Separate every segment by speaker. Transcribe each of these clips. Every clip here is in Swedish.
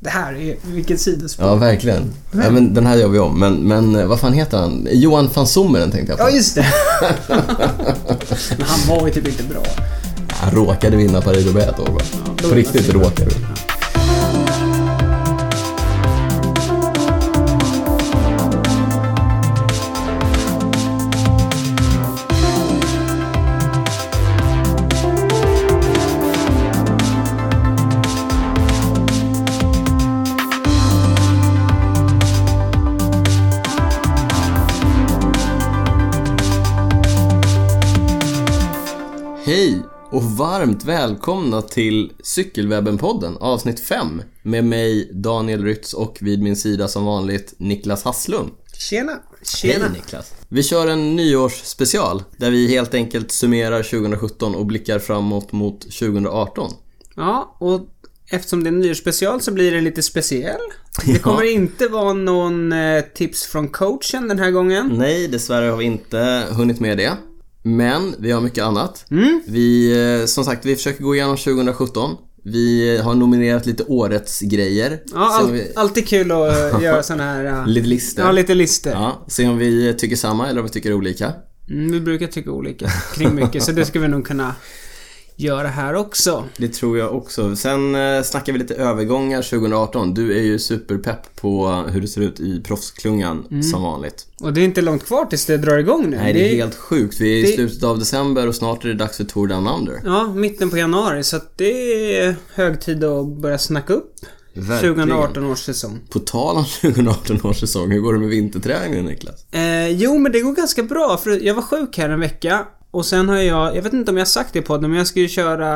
Speaker 1: Det här är, vilket sidospår.
Speaker 2: Ja, verkligen. Ja, men den här gör vi om. Men, men eh, vad fan heter han? Johan van Sommeren tänkte jag på.
Speaker 1: Ja, just det. Men han var ju typ inte bra.
Speaker 2: Han råkade vinna Paris roubaix ett år va?
Speaker 1: då
Speaker 2: På
Speaker 1: är
Speaker 2: riktigt
Speaker 1: det
Speaker 2: råkade. Hej och varmt välkomna till Cykelwebben-podden avsnitt 5 med mig Daniel Rytz och vid min sida som vanligt Niklas Hasslum.
Speaker 1: Tjena. Tjena.
Speaker 2: Niklas. Vi kör en nyårsspecial där vi helt enkelt summerar 2017 och blickar framåt mot 2018.
Speaker 1: Ja, och eftersom det är en nyårsspecial så blir den lite speciell. Det kommer inte vara någon eh, tips från coachen den här gången.
Speaker 2: Nej, dessvärre har vi inte hunnit med det. Men vi har mycket annat.
Speaker 1: Mm.
Speaker 2: Vi, eh, som sagt, vi försöker gå igenom 2017. Vi har nominerat lite årets grejer.
Speaker 1: Ja, all,
Speaker 2: Se om vi,
Speaker 1: alltid kul att eh, göra sådana här... eh,
Speaker 2: lite listor.
Speaker 1: Ja, lite listor.
Speaker 2: Ja, se om vi tycker samma eller om vi tycker olika.
Speaker 1: Mm, vi brukar tycka olika kring mycket, så det ska vi nog kunna göra här också.
Speaker 2: Det tror jag också. Sen eh, snackar vi lite övergångar 2018. Du är ju superpepp på hur det ser ut i proffsklungan som vanligt.
Speaker 1: Och Mm. det är inte långt kvar tills det drar igång nu.
Speaker 2: Nej, det är helt sjukt. Vi är i
Speaker 1: det-
Speaker 2: slutet av december och snart är det dags för Tour Down Under.
Speaker 1: Ja, mitten på januari, så att det är hög tid att börja snacka upp
Speaker 2: Verkligen.
Speaker 1: 2018 års säsong.
Speaker 2: På tal om 2018 års säsong, hur går det med vinterträningen Niklas?
Speaker 1: Eh, jo, men det går ganska bra. För jag var sjuk här en vecka. Och sen har jag, jag vet inte om jag har sagt det i podden, men jag ska ju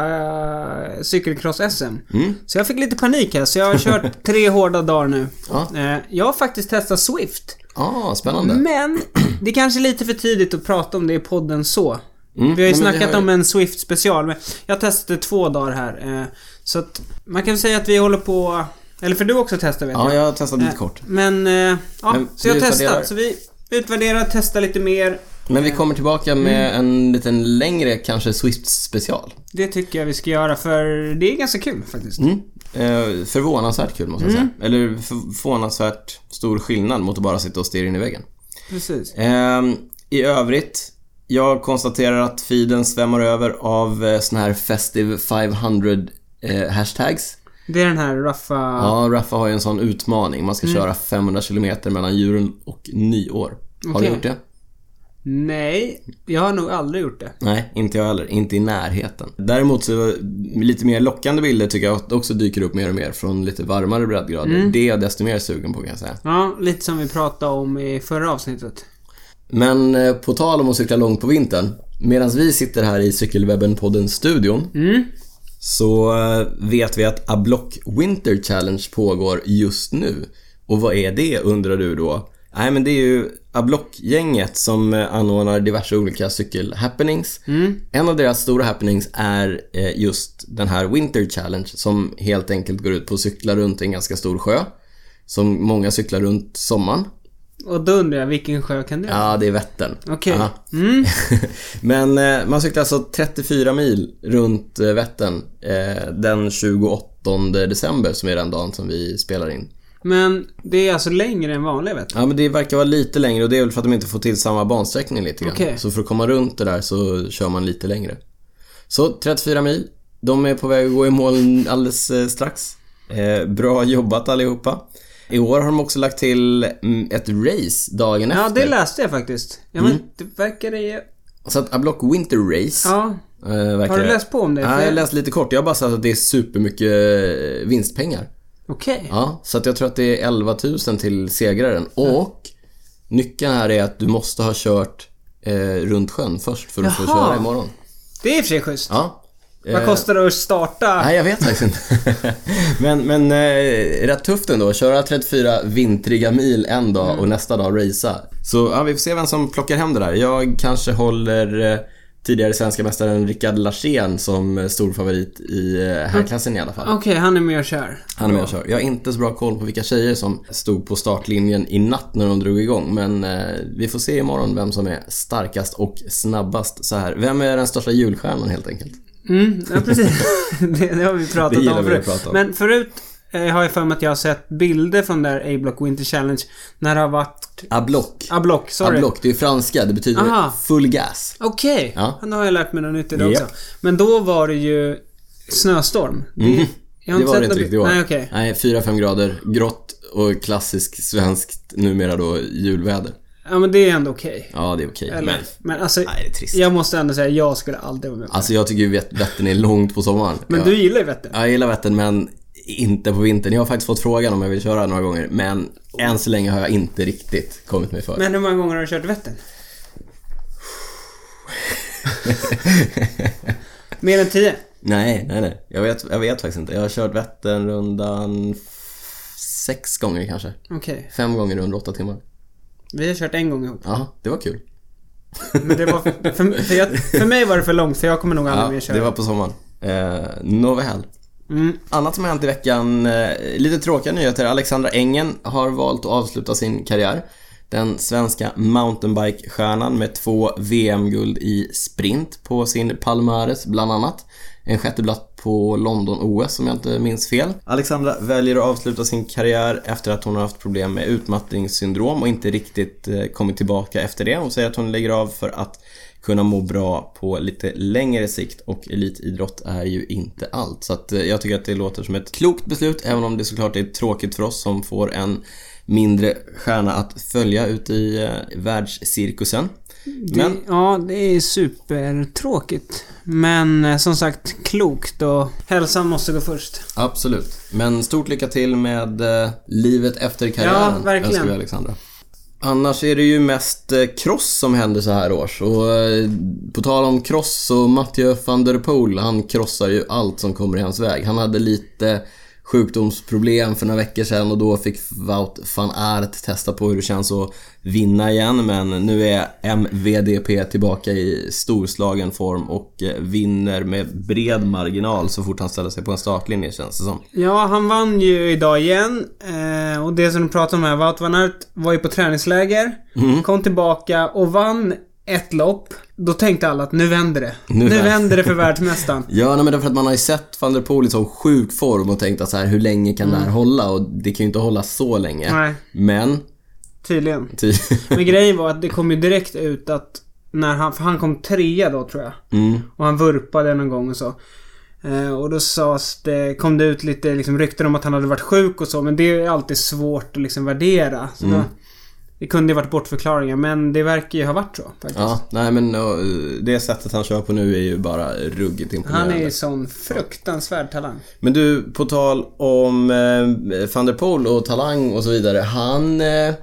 Speaker 1: köra eh, cykelcross-SM.
Speaker 2: Mm.
Speaker 1: Så jag fick lite panik här, så jag har kört tre hårda dagar nu.
Speaker 2: Ja.
Speaker 1: Eh, jag har faktiskt testat Swift.
Speaker 2: Ah, spännande.
Speaker 1: Men det är kanske är lite för tidigt att prata om det i podden så. Vi har ju
Speaker 2: Mm. nej, men det
Speaker 1: snackat
Speaker 2: har-
Speaker 1: om en Swift special, men jag testade två dagar här. eh, Så att man kan väl säga att vi håller på... Eller för du också testar vet
Speaker 2: Ja, jag har testat lite
Speaker 1: Eh,
Speaker 2: kort.
Speaker 1: Men, eh, ja,
Speaker 2: Men
Speaker 1: så jag
Speaker 2: vi
Speaker 1: testar.
Speaker 2: utvärderar.
Speaker 1: Så vi utvärderar, testar lite mer.
Speaker 2: Men vi kommer tillbaka med en liten längre, kanske Swift-special.
Speaker 1: Det tycker jag vi ska göra för det är ganska kul faktiskt.
Speaker 2: Mm. Eh, förvånansvärt kul måste jag säga. Eller förvånansvärt stor skillnad mot att bara sitta och stirra in i väggen.
Speaker 1: Precis.
Speaker 2: Ehm, I övrigt, jag konstaterar att feeden svämmar över av eh, såna här Festive 500 eh, hashtags.
Speaker 1: Det är den här raffa...
Speaker 2: Ja, Raffa har ju en sån utmaning. Man ska köra 500 kilometer mellan julen och nyår. Har
Speaker 1: Okej.
Speaker 2: du gjort det?
Speaker 1: Nej, jag har nog aldrig gjort det.
Speaker 2: Nej, inte jag heller. Inte i närheten. Däremot så, lite mer lockande bilder tycker jag också dyker upp mer och mer från lite varmare breddgrader. Det är jag desto mer sugen på kan jag säga.
Speaker 1: Ja, lite som vi pratade om i förra avsnittet.
Speaker 2: Men eh, på tal om att cykla långt på vintern. Medan vi sitter här i Cykelwebben-podden-studion så eh, vet vi att A Block Winter Challenge pågår just nu. Och vad är det undrar du då? Nej men det är ju A Block-gänget som eh, anordnar diverse olika cykelhappenings. En av deras stora happenings är eh, just den här Winter Challenge som helt enkelt går ut på att cykla runt en ganska stor sjö. Som många cyklar runt sommaren.
Speaker 1: Och då undrar jag, vilken sjö kan det vara?
Speaker 2: Ja, det är Vättern.
Speaker 1: Okej. Mm.
Speaker 2: Ja. Men eh, man cyklar alltså 34 mil runt eh, Vättern eh, den 28 december som är den dagen som vi spelar in.
Speaker 1: Men det är alltså längre än vanliga vet du.
Speaker 2: Ja, men det verkar vara lite längre och det är väl för att de inte får till samma bansträckning lite grann.
Speaker 1: Okej.
Speaker 2: Så för att komma runt det där så kör man lite längre. Så 34 mil. De är på väg att gå i mål alldeles eh, strax. Eh, bra jobbat allihopa. I år har de också lagt till mm, ett race dagen
Speaker 1: Ja,
Speaker 2: efter. Mm.
Speaker 1: det läste jag faktiskt. Ja, men det verkar det ju...
Speaker 2: Så att Ablock Winter Race
Speaker 1: Ja.
Speaker 2: Eh, verkar
Speaker 1: Har du
Speaker 2: det.
Speaker 1: läst på om det?
Speaker 2: Nej,
Speaker 1: För-
Speaker 2: jag har läst lite kort. Jag har bara sett att det är supermycket eh, vinstpengar.
Speaker 1: Okej.
Speaker 2: Ja, så att jag tror att det är 11 000 till segraren. Och nyckeln här är att du måste ha kört eh, runt sjön först för att få
Speaker 1: Jaha.
Speaker 2: köra imorgon.
Speaker 1: Det är i och för sig schysst.
Speaker 2: Ja.
Speaker 1: Vad
Speaker 2: Eh,
Speaker 1: kostar det att starta?
Speaker 2: Nej, jag vet faktiskt inte. men men eh, rätt tufft ändå. Köra 34 vintriga mil en dag och nästa dag racea. Så ja, vi får se vem som plockar hem det där. Jag kanske håller eh, tidigare svenska mästaren Rickard Larsén som eh, stor favorit i eh, herrklassen i alla fall.
Speaker 1: Okej, han är med och kör.
Speaker 2: Han är med och kör. Jag har inte så bra koll på vilka tjejer som stod på startlinjen i natt när de drog igång. Men eh, vi får se imorgon vem som är starkast och snabbast så här. Vem är den största julstjärnan helt enkelt?
Speaker 1: Mm, ja precis. det, det har vi pratat
Speaker 2: Det gillar
Speaker 1: om
Speaker 2: vi
Speaker 1: förut.
Speaker 2: att prata om.
Speaker 1: Men förut eh, har jag för mig att jag har sett bilder från där A-Block Winter Challenge. När det har varit...
Speaker 2: Ablock.
Speaker 1: A-Block, sorry.
Speaker 2: Ablock, det är franska. Det betyder
Speaker 1: Aha.
Speaker 2: full gas.
Speaker 1: Okej,
Speaker 2: Ja.
Speaker 1: nu har jag lärt mig något nytt idag
Speaker 2: Japp.
Speaker 1: också. Men då var det ju snöstorm. Det, jag har
Speaker 2: Mm. Det var det
Speaker 1: sett
Speaker 2: inte
Speaker 1: något-
Speaker 2: riktigt i år.
Speaker 1: Nej, okej.
Speaker 2: Nej, 4-5 grader, grått och klassiskt svenskt, numera då julväder.
Speaker 1: Ja, men det är ändå okej.
Speaker 2: Ja, det är okej,
Speaker 1: Eller?
Speaker 2: men...
Speaker 1: Men, alltså,
Speaker 2: Nej, det är trist.
Speaker 1: jag måste ändå säga jag skulle aldrig vara med.
Speaker 2: Alltså jag tycker ju vett- Vättern är långt på sommaren.
Speaker 1: Men
Speaker 2: jag,
Speaker 1: du gillar ju Vättern.
Speaker 2: jag gillar Vättern, men inte på vintern. Jag har faktiskt fått frågan om jag vill köra några gånger, men än så länge har jag inte riktigt kommit mig för.
Speaker 1: Men hur många gånger har du kört Vättern? Mer än tio?
Speaker 2: Nej, nej, nej. Jag vet, jag vet faktiskt inte. Jag har kört Vätternrundan f- sex gånger kanske.
Speaker 1: Okej.
Speaker 2: Fem gånger under åtta timmar.
Speaker 1: Vi har kört en gång ihop.
Speaker 2: Ja, det var kul.
Speaker 1: Men det var för, för, för, jag, för mig var det för långt så jag kommer nog aldrig
Speaker 2: Ja,
Speaker 1: mer köra.
Speaker 2: det var på sommaren. Eh, Nåväl.
Speaker 1: Mm.
Speaker 2: Annat som har hänt i veckan, eh, lite tråkiga nyheter. Alexandra Engen har valt att avsluta sin karriär. Den svenska mountainbike-stjärnan med två VM-guld i sprint på sin Palmares bland annat. En sjätteplats på London-OS om jag inte minns fel. Alexandra väljer att avsluta sin karriär efter att hon har haft problem med utmattningssyndrom och inte riktigt eh, kommit tillbaka efter det. Hon säger att hon lägger av för att kunna må bra på lite längre sikt och elitidrott är ju inte allt. Så att eh, jag tycker att det låter som ett klokt beslut även om det såklart är tråkigt för oss som får en mindre stjärna att följa ute i eh, världscirkusen.
Speaker 1: Det,
Speaker 2: Men
Speaker 1: Ja, det är supertråkigt. Men eh, som sagt, klokt och hälsan måste gå först.
Speaker 2: absolut. Men stort lycka till med eh, livet efter karriären.
Speaker 1: Ja, verkligen.
Speaker 2: önskar vi Alexandra. Annars är det ju mest eh, cross som händer så här års. Och eh, på tal om cross så Mathieu van der Poel, han krossar ju allt som kommer i hans väg. Han hade lite sjukdomsproblem för några veckor sedan och då fick Wout van Aert testa på hur det känns att vinna igen. Men nu är MVDP tillbaka i storslagen form och eh, vinner med bred marginal så fort han ställer sig på en startlinje känns det som.
Speaker 1: Ja, han vann ju idag igen. Eh, och det som du pratade om här, Wout van Aert var ju på träningsläger. Kom tillbaka och vann ett lopp. Då tänkte alla att nu vänder det. Nu,
Speaker 2: vänder-
Speaker 1: vänder det för världsmästaren.
Speaker 2: Ja, nej, men därför att man har ju sett van der Poel i sån sjuk form och tänkt att så här, hur länge kan det här hålla? Och det kan ju inte hålla så länge.
Speaker 1: Mm. Nej,
Speaker 2: Men,
Speaker 1: tydligen.
Speaker 2: ty...
Speaker 1: Men grejen var att det kom ju direkt ut att när han, för han kom trea då tror jag.
Speaker 2: mm.
Speaker 1: Och han vurpade någon gång och så. Eh, och då sades det, kom det ut lite liksom, rykten om att han hade varit sjuk och så. Men det är alltid svårt att liksom värdera. Så
Speaker 2: Mm.
Speaker 1: då, det kunde ju varit bortförklaringar men det verkar ju ha varit så faktiskt.
Speaker 2: Ja, nej men och, det sättet han kör på nu är ju bara ruggigt
Speaker 1: Han
Speaker 2: imponerande.
Speaker 1: är ju sån fruktansvärd talang.
Speaker 2: Men du, på tal om eh, van der Poel och talang och så vidare. Han, eh,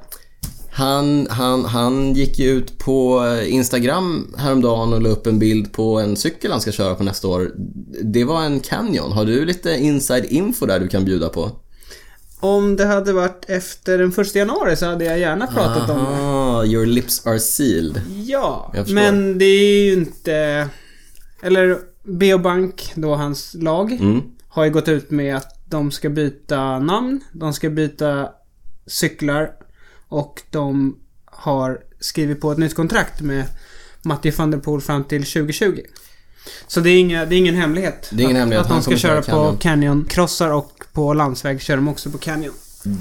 Speaker 2: han, han, han gick ju ut på eh, Instagram häromdagen och la upp en bild på en cykel han ska köra på nästa år. Det var en Canyon. Har du lite inside info där du kan bjuda på?
Speaker 1: Om det hade varit efter den första januari så hade jag gärna pratat om det.
Speaker 2: Ah, your lips are sealed.
Speaker 1: Ja,
Speaker 2: Jag förstår.
Speaker 1: men det är ju inte... Eller B.O. Bank, då hans lag,
Speaker 2: Mm.
Speaker 1: har ju gått ut med att de ska byta namn, de ska byta cyklar och de har skrivit på ett nytt kontrakt med Matti van der Poel fram till 2020. Så det är, inga, det är ingen hemlighet.
Speaker 2: Det är ingen
Speaker 1: att,
Speaker 2: hemlighet.
Speaker 1: Att de
Speaker 2: Han
Speaker 1: ska
Speaker 2: kommer
Speaker 1: köra
Speaker 2: köra
Speaker 1: på Canyon-krossar och på landsväg kör de också på Canyon.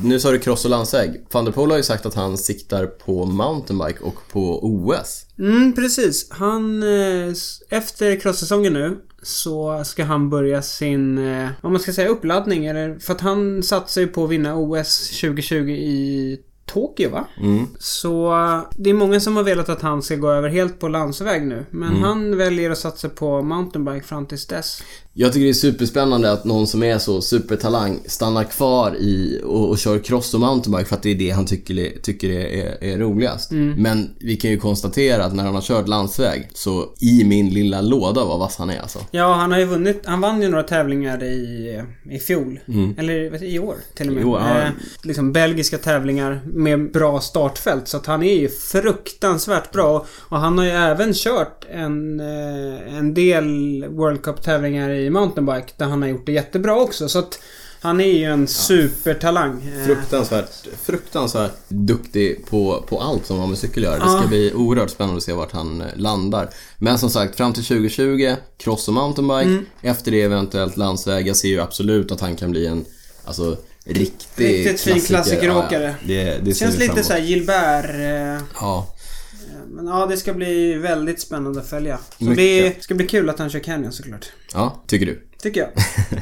Speaker 2: Nu sa du cross och landsväg. Van der Poel har ju sagt att han siktar på mountainbike och på OS.
Speaker 1: Mm, precis. Han... eh, s- Efter crossäsongen nu så ska han börja sin, eh, vad man ska säga, uppladdning. Eller, för att han satsar ju på att vinna OS 2020 i Tokyo, va?
Speaker 2: Mm.
Speaker 1: Så eh, det är många som har velat att han ska gå över helt på landsväg nu. Men han väljer att satsa på mountainbike fram tills dess.
Speaker 2: Jag tycker det är superspännande att någon som är så supertalang stannar kvar i och, och kör cross och mountainbike för att det är det han tycker, tycker är, är, är roligast. Men vi kan ju konstatera att när han har kört landsväg så i min lilla låda vad vass han är alltså.
Speaker 1: Ja, han har ju vunnit. Han vann ju några tävlingar i, i fjol. Eller vet du, i år till och med.
Speaker 2: I år, Mm. ja.
Speaker 1: eh, liksom belgiska tävlingar med bra startfält. Så att han är ju fruktansvärt bra. Och han har ju även kört en, eh, en del World Cup-tävlingar i mountainbike. Där han har gjort det jättebra också. Så att han är ju en supertalang. Eh,
Speaker 2: Fruktansvärt, fruktansvärt duktig på, på allt som har med cykel att göra. Det ska bli oerhört spännande att se vart han eh, landar. Men som sagt, fram till
Speaker 1: Mm.
Speaker 2: 2020, cross och mountainbike. Efter det eventuellt landsväg. Jag ser ju absolut att han kan bli en Alltså, riktig
Speaker 1: Riktigt fin klassikeråkare.
Speaker 2: Ja, ja. Det, det
Speaker 1: Det känns
Speaker 2: ser vi fram
Speaker 1: lite
Speaker 2: emot.
Speaker 1: såhär Gilbert... eh,
Speaker 2: Ja.
Speaker 1: Men ja, det ska bli väldigt spännande att följa. Så
Speaker 2: Mycket.
Speaker 1: det ska bli kul att han kör Canyon såklart.
Speaker 2: ja, tycker du.
Speaker 1: Tycker jag.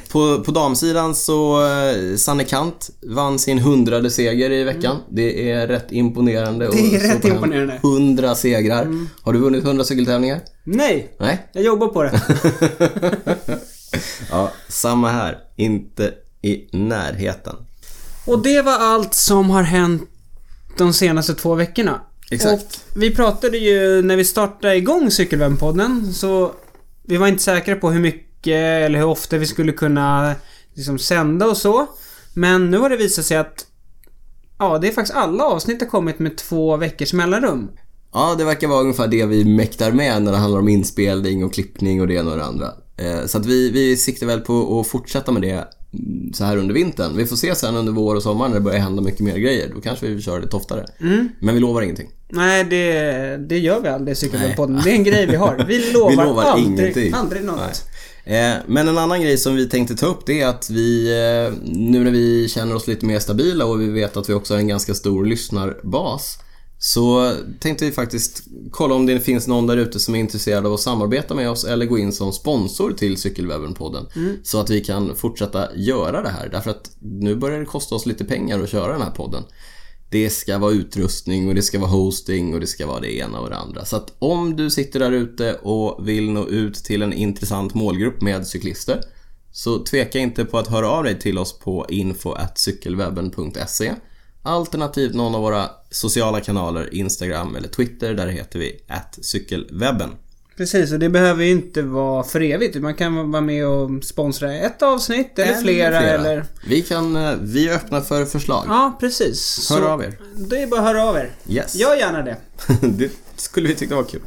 Speaker 2: På, på damsidan så eh, Sanne Kant vann sin hundrade seger i veckan. Det är rätt imponerande. och
Speaker 1: Mm. Det är
Speaker 2: så
Speaker 1: rätt
Speaker 2: på den
Speaker 1: imponerande. Mm.
Speaker 2: Hundra segrar. Har du vunnit hundra cykeltävlingar?
Speaker 1: Nej!
Speaker 2: Nej.
Speaker 1: Jag jobbar på det.
Speaker 2: Ja, samma här. Inte i närheten.
Speaker 1: Och det var allt som har hänt de senaste två veckorna.
Speaker 2: Exakt.
Speaker 1: Och vi pratade ju när vi startade igång Cykelwebben-podden så vi var inte säkra på hur mycket eller hur ofta vi skulle kunna liksom sända och så. Men nu har det visat sig att ja, det är faktiskt alla avsnitt har kommit med två veckors mellanrum.
Speaker 2: Ja, det verkar vara ungefär det vi mäktar med när det handlar om inspelning och klippning och det ena och det andra. Eh, Så att vi, vi siktar väl på att fortsätta med det mm, så här under vintern. Vi får se sen under vår och sommar när det börjar hända mycket mer grejer. Då kanske vi kör lite oftare. Men vi lovar ingenting.
Speaker 1: Nej, det, det gör vi aldrig i Cykelwebben-podden. Det är en grej vi har. Vi lovar,
Speaker 2: vi lovar
Speaker 1: aldrig,
Speaker 2: ingenting.
Speaker 1: aldrig något.
Speaker 2: Nej. Eh, Men en annan grej som vi tänkte ta upp det är att vi, eh, nu när vi känner oss lite mer stabila och vi vet att vi också har en ganska stor lyssnarbas, så tänkte vi faktiskt kolla om det finns någon där ute som är intresserad av att samarbeta med oss eller gå in som sponsor till Cykelwebben-podden. Så att vi kan fortsätta göra det här. Därför att nu börjar det kosta oss lite pengar att köra den här podden. Det ska vara utrustning och det ska vara hosting och det ska vara det ena och det andra. Så att om du sitter där ute och vill nå ut till en intressant målgrupp med cyklister så tveka inte på att höra av dig till oss på info.cykelwebben.se Alternativt någon av våra sociala kanaler, Instagram eller Twitter, där heter vi cykelwebben.
Speaker 1: Precis, och det behöver ju inte vara för evigt. Man kan vara med och sponsra ett avsnitt eller, flera, eller...
Speaker 2: Vi, kan, eh, vi är öppna för förslag.
Speaker 1: Ja, precis.
Speaker 2: Hör
Speaker 1: Så-
Speaker 2: av er.
Speaker 1: Det är bara att höra av er.
Speaker 2: Yes.
Speaker 1: Gör gärna det.
Speaker 2: det skulle vi tycka var kul.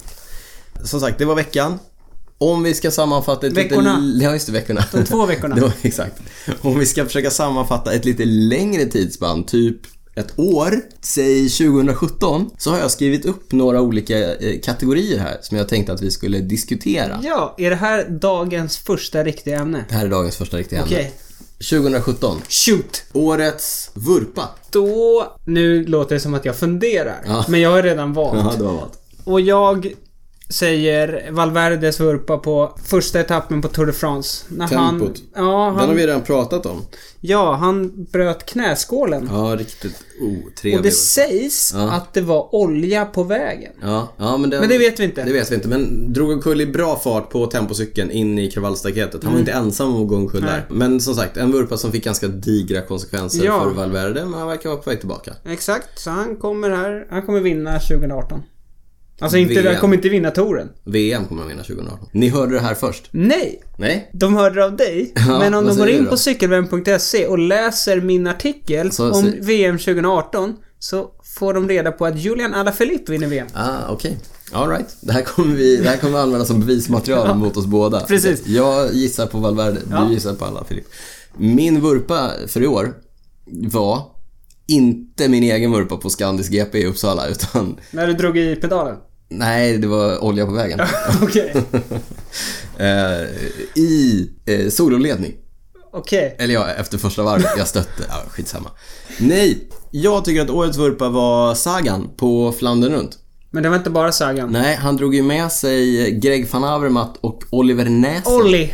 Speaker 2: Som sagt, det var veckan. Om vi ska sammanfatta ett
Speaker 1: Veckorna.
Speaker 2: lite... Ja, just det, veckorna.
Speaker 1: De två veckorna.
Speaker 2: Det var, exakt. Om vi ska försöka sammanfatta ett lite längre tidsspann, typ ett år, säg 2017, så har jag skrivit upp några olika eh, kategorier här som jag tänkte att vi skulle diskutera.
Speaker 1: Ja, är det här dagens första riktiga ämne?
Speaker 2: Det här är dagens första riktiga ämne.
Speaker 1: Okej.
Speaker 2: 2017.
Speaker 1: Shoot!
Speaker 2: Årets vurpa.
Speaker 1: Då... Nu låter det som att jag funderar.
Speaker 2: Ja.
Speaker 1: Men jag har redan valt.
Speaker 2: Jaha, det var vad.
Speaker 1: Och jag säger Valverdes vurpa på första etappen på Tour de France. När
Speaker 2: Tempot.
Speaker 1: Han, ja,
Speaker 2: Den har
Speaker 1: han,
Speaker 2: vi redan pratat om.
Speaker 1: ja, han bröt knäskålen.
Speaker 2: Ja, riktigt otrevlig.
Speaker 1: och det sägs att det var olja på vägen.
Speaker 2: Ja, ja men, den,
Speaker 1: Men det vet vi inte.
Speaker 2: Det vet vi inte. Men drog omkull i bra fart på tempocykeln in i kravallstaketet. Han
Speaker 1: Mm.
Speaker 2: var inte ensam om att gå omkull där. Men som sagt, en vurpa som fick ganska digra konsekvenser
Speaker 1: Ja.
Speaker 2: för Valverde, men han verkar vara på väg tillbaka.
Speaker 1: Exakt, så han kommer här. Han kommer vinna 2018. Alltså inte,
Speaker 2: VM.
Speaker 1: han kommer inte vinna touren.
Speaker 2: VM kommer han vinna 2018. Ni hörde det här först?
Speaker 1: Nej!
Speaker 2: Nej?
Speaker 1: De hörde det av dig.
Speaker 2: Ja,
Speaker 1: men om
Speaker 2: vad
Speaker 1: de går
Speaker 2: säger
Speaker 1: in
Speaker 2: du då?
Speaker 1: på cykelvän.se och läser min artikel
Speaker 2: Så-
Speaker 1: om
Speaker 2: så-
Speaker 1: VM 2018 så får de reda på att Julian Alaphilippe vinner VM.
Speaker 2: Ah, okej. All Alright. Det här kommer vi det här kommer vi använda som bevismaterial mot oss båda.
Speaker 1: Precis.
Speaker 2: Jag gissar på Valverde,
Speaker 1: Ja.
Speaker 2: du gissar på alla Filip. Min vurpa för i år var inte min egen vurpa på Scandisk GP i Uppsala, utan
Speaker 1: När du drog i pedalen.
Speaker 2: Nej, det var olja på vägen.
Speaker 1: Okej.
Speaker 2: eh, I eh, sololedning.
Speaker 1: Okej.
Speaker 2: Eller ja, efter första varvet. Jag stötte. Ja, skitsamma. Nej, jag tycker att årets vurpa var Sagan på Flandern runt.
Speaker 1: Men det var inte bara Sagan.
Speaker 2: Nej, han drog ju med sig Greg van Avermaet och Oliver Näsen
Speaker 1: Olli.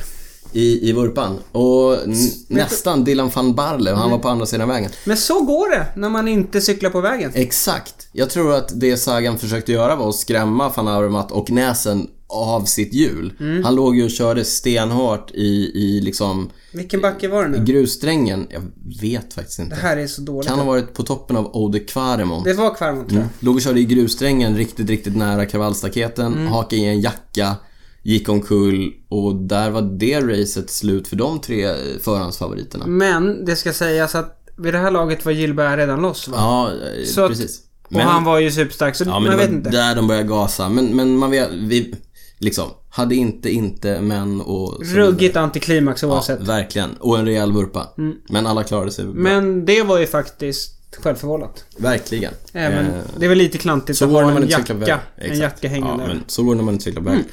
Speaker 2: i, i vurpan. Och n- nästan Dylan van Barle, han var på andra sidan vägen.
Speaker 1: Men så går det när man inte cyklar på vägen.
Speaker 2: Exakt. Jag tror att det Sagan försökte göra var att skrämma van Avermaet och Näsen av sitt hjul.
Speaker 1: Mm.
Speaker 2: Han låg ju och körde stenhårt i, i liksom
Speaker 1: Vilken backe var det nu?
Speaker 2: grussträngen. Jag vet faktiskt
Speaker 1: Det
Speaker 2: inte.
Speaker 1: här är så dåligt.
Speaker 2: Kan ha varit på toppen av Ode Kvaremont.
Speaker 1: Det var Kvarmont tror jag.
Speaker 2: Låg och körde i grussträngen riktigt, riktigt nära kravallstaketen.
Speaker 1: Mm.
Speaker 2: Hakade i en jacka. Gick omkull och där var det racet slut för de tre förhandsfavoriterna.
Speaker 1: Mm. Men det ska sägas att vid det här laget var Gilbert redan loss va?
Speaker 2: Ja,
Speaker 1: Så
Speaker 2: eh,
Speaker 1: att-
Speaker 2: precis.
Speaker 1: och han var ju superstark så
Speaker 2: Ja,
Speaker 1: man
Speaker 2: men det
Speaker 1: vet
Speaker 2: var
Speaker 1: inte.
Speaker 2: där de började gasa. Men, men man vet, vi, liksom, hade inte, inte, men och... så-
Speaker 1: Ruggigt antiklimax oavsett.
Speaker 2: Verkligen. Och en rejäl vurpa. Men alla klarade sig bra.
Speaker 1: Mm. Men det var ju faktiskt självförvållat.
Speaker 2: Verkligen.
Speaker 1: Även, det var lite klantigt
Speaker 2: Eh, Så
Speaker 1: att
Speaker 2: går det
Speaker 1: ha
Speaker 2: när man
Speaker 1: Eh, en
Speaker 2: inte cyklar på väg.
Speaker 1: jacka, en jacka Mm. hängande.
Speaker 2: Ja, men så går det när man inte cyklar på väg.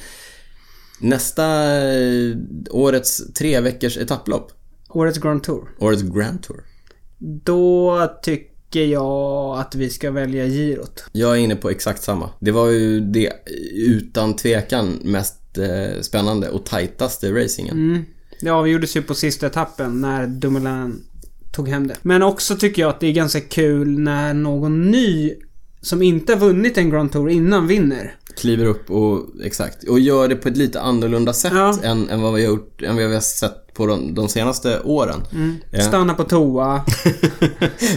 Speaker 2: Nästa eh, årets tre veckors etapplopp.
Speaker 1: Årets Grand Tour.
Speaker 2: Årets Grand Tour.
Speaker 1: Då tycker jag att vi ska välja girot.
Speaker 2: Jag är inne på exakt samma. Det var ju det utan tvekan mest eh, spännande och tajtaste racingen.
Speaker 1: Mm. Det avgjordes ju på sista etappen när Dumoulin tog hem det. Men också tycker jag att det är ganska kul när någon ny som inte har vunnit en Grand Tour innan vinner.
Speaker 2: Kliver upp och exakt. Och gör det på ett lite annorlunda sätt
Speaker 1: Ja.
Speaker 2: än, än vad vi har gjort, än vad vi har sett på de, de senaste åren. Eh, Ja.
Speaker 1: Stanna på toa.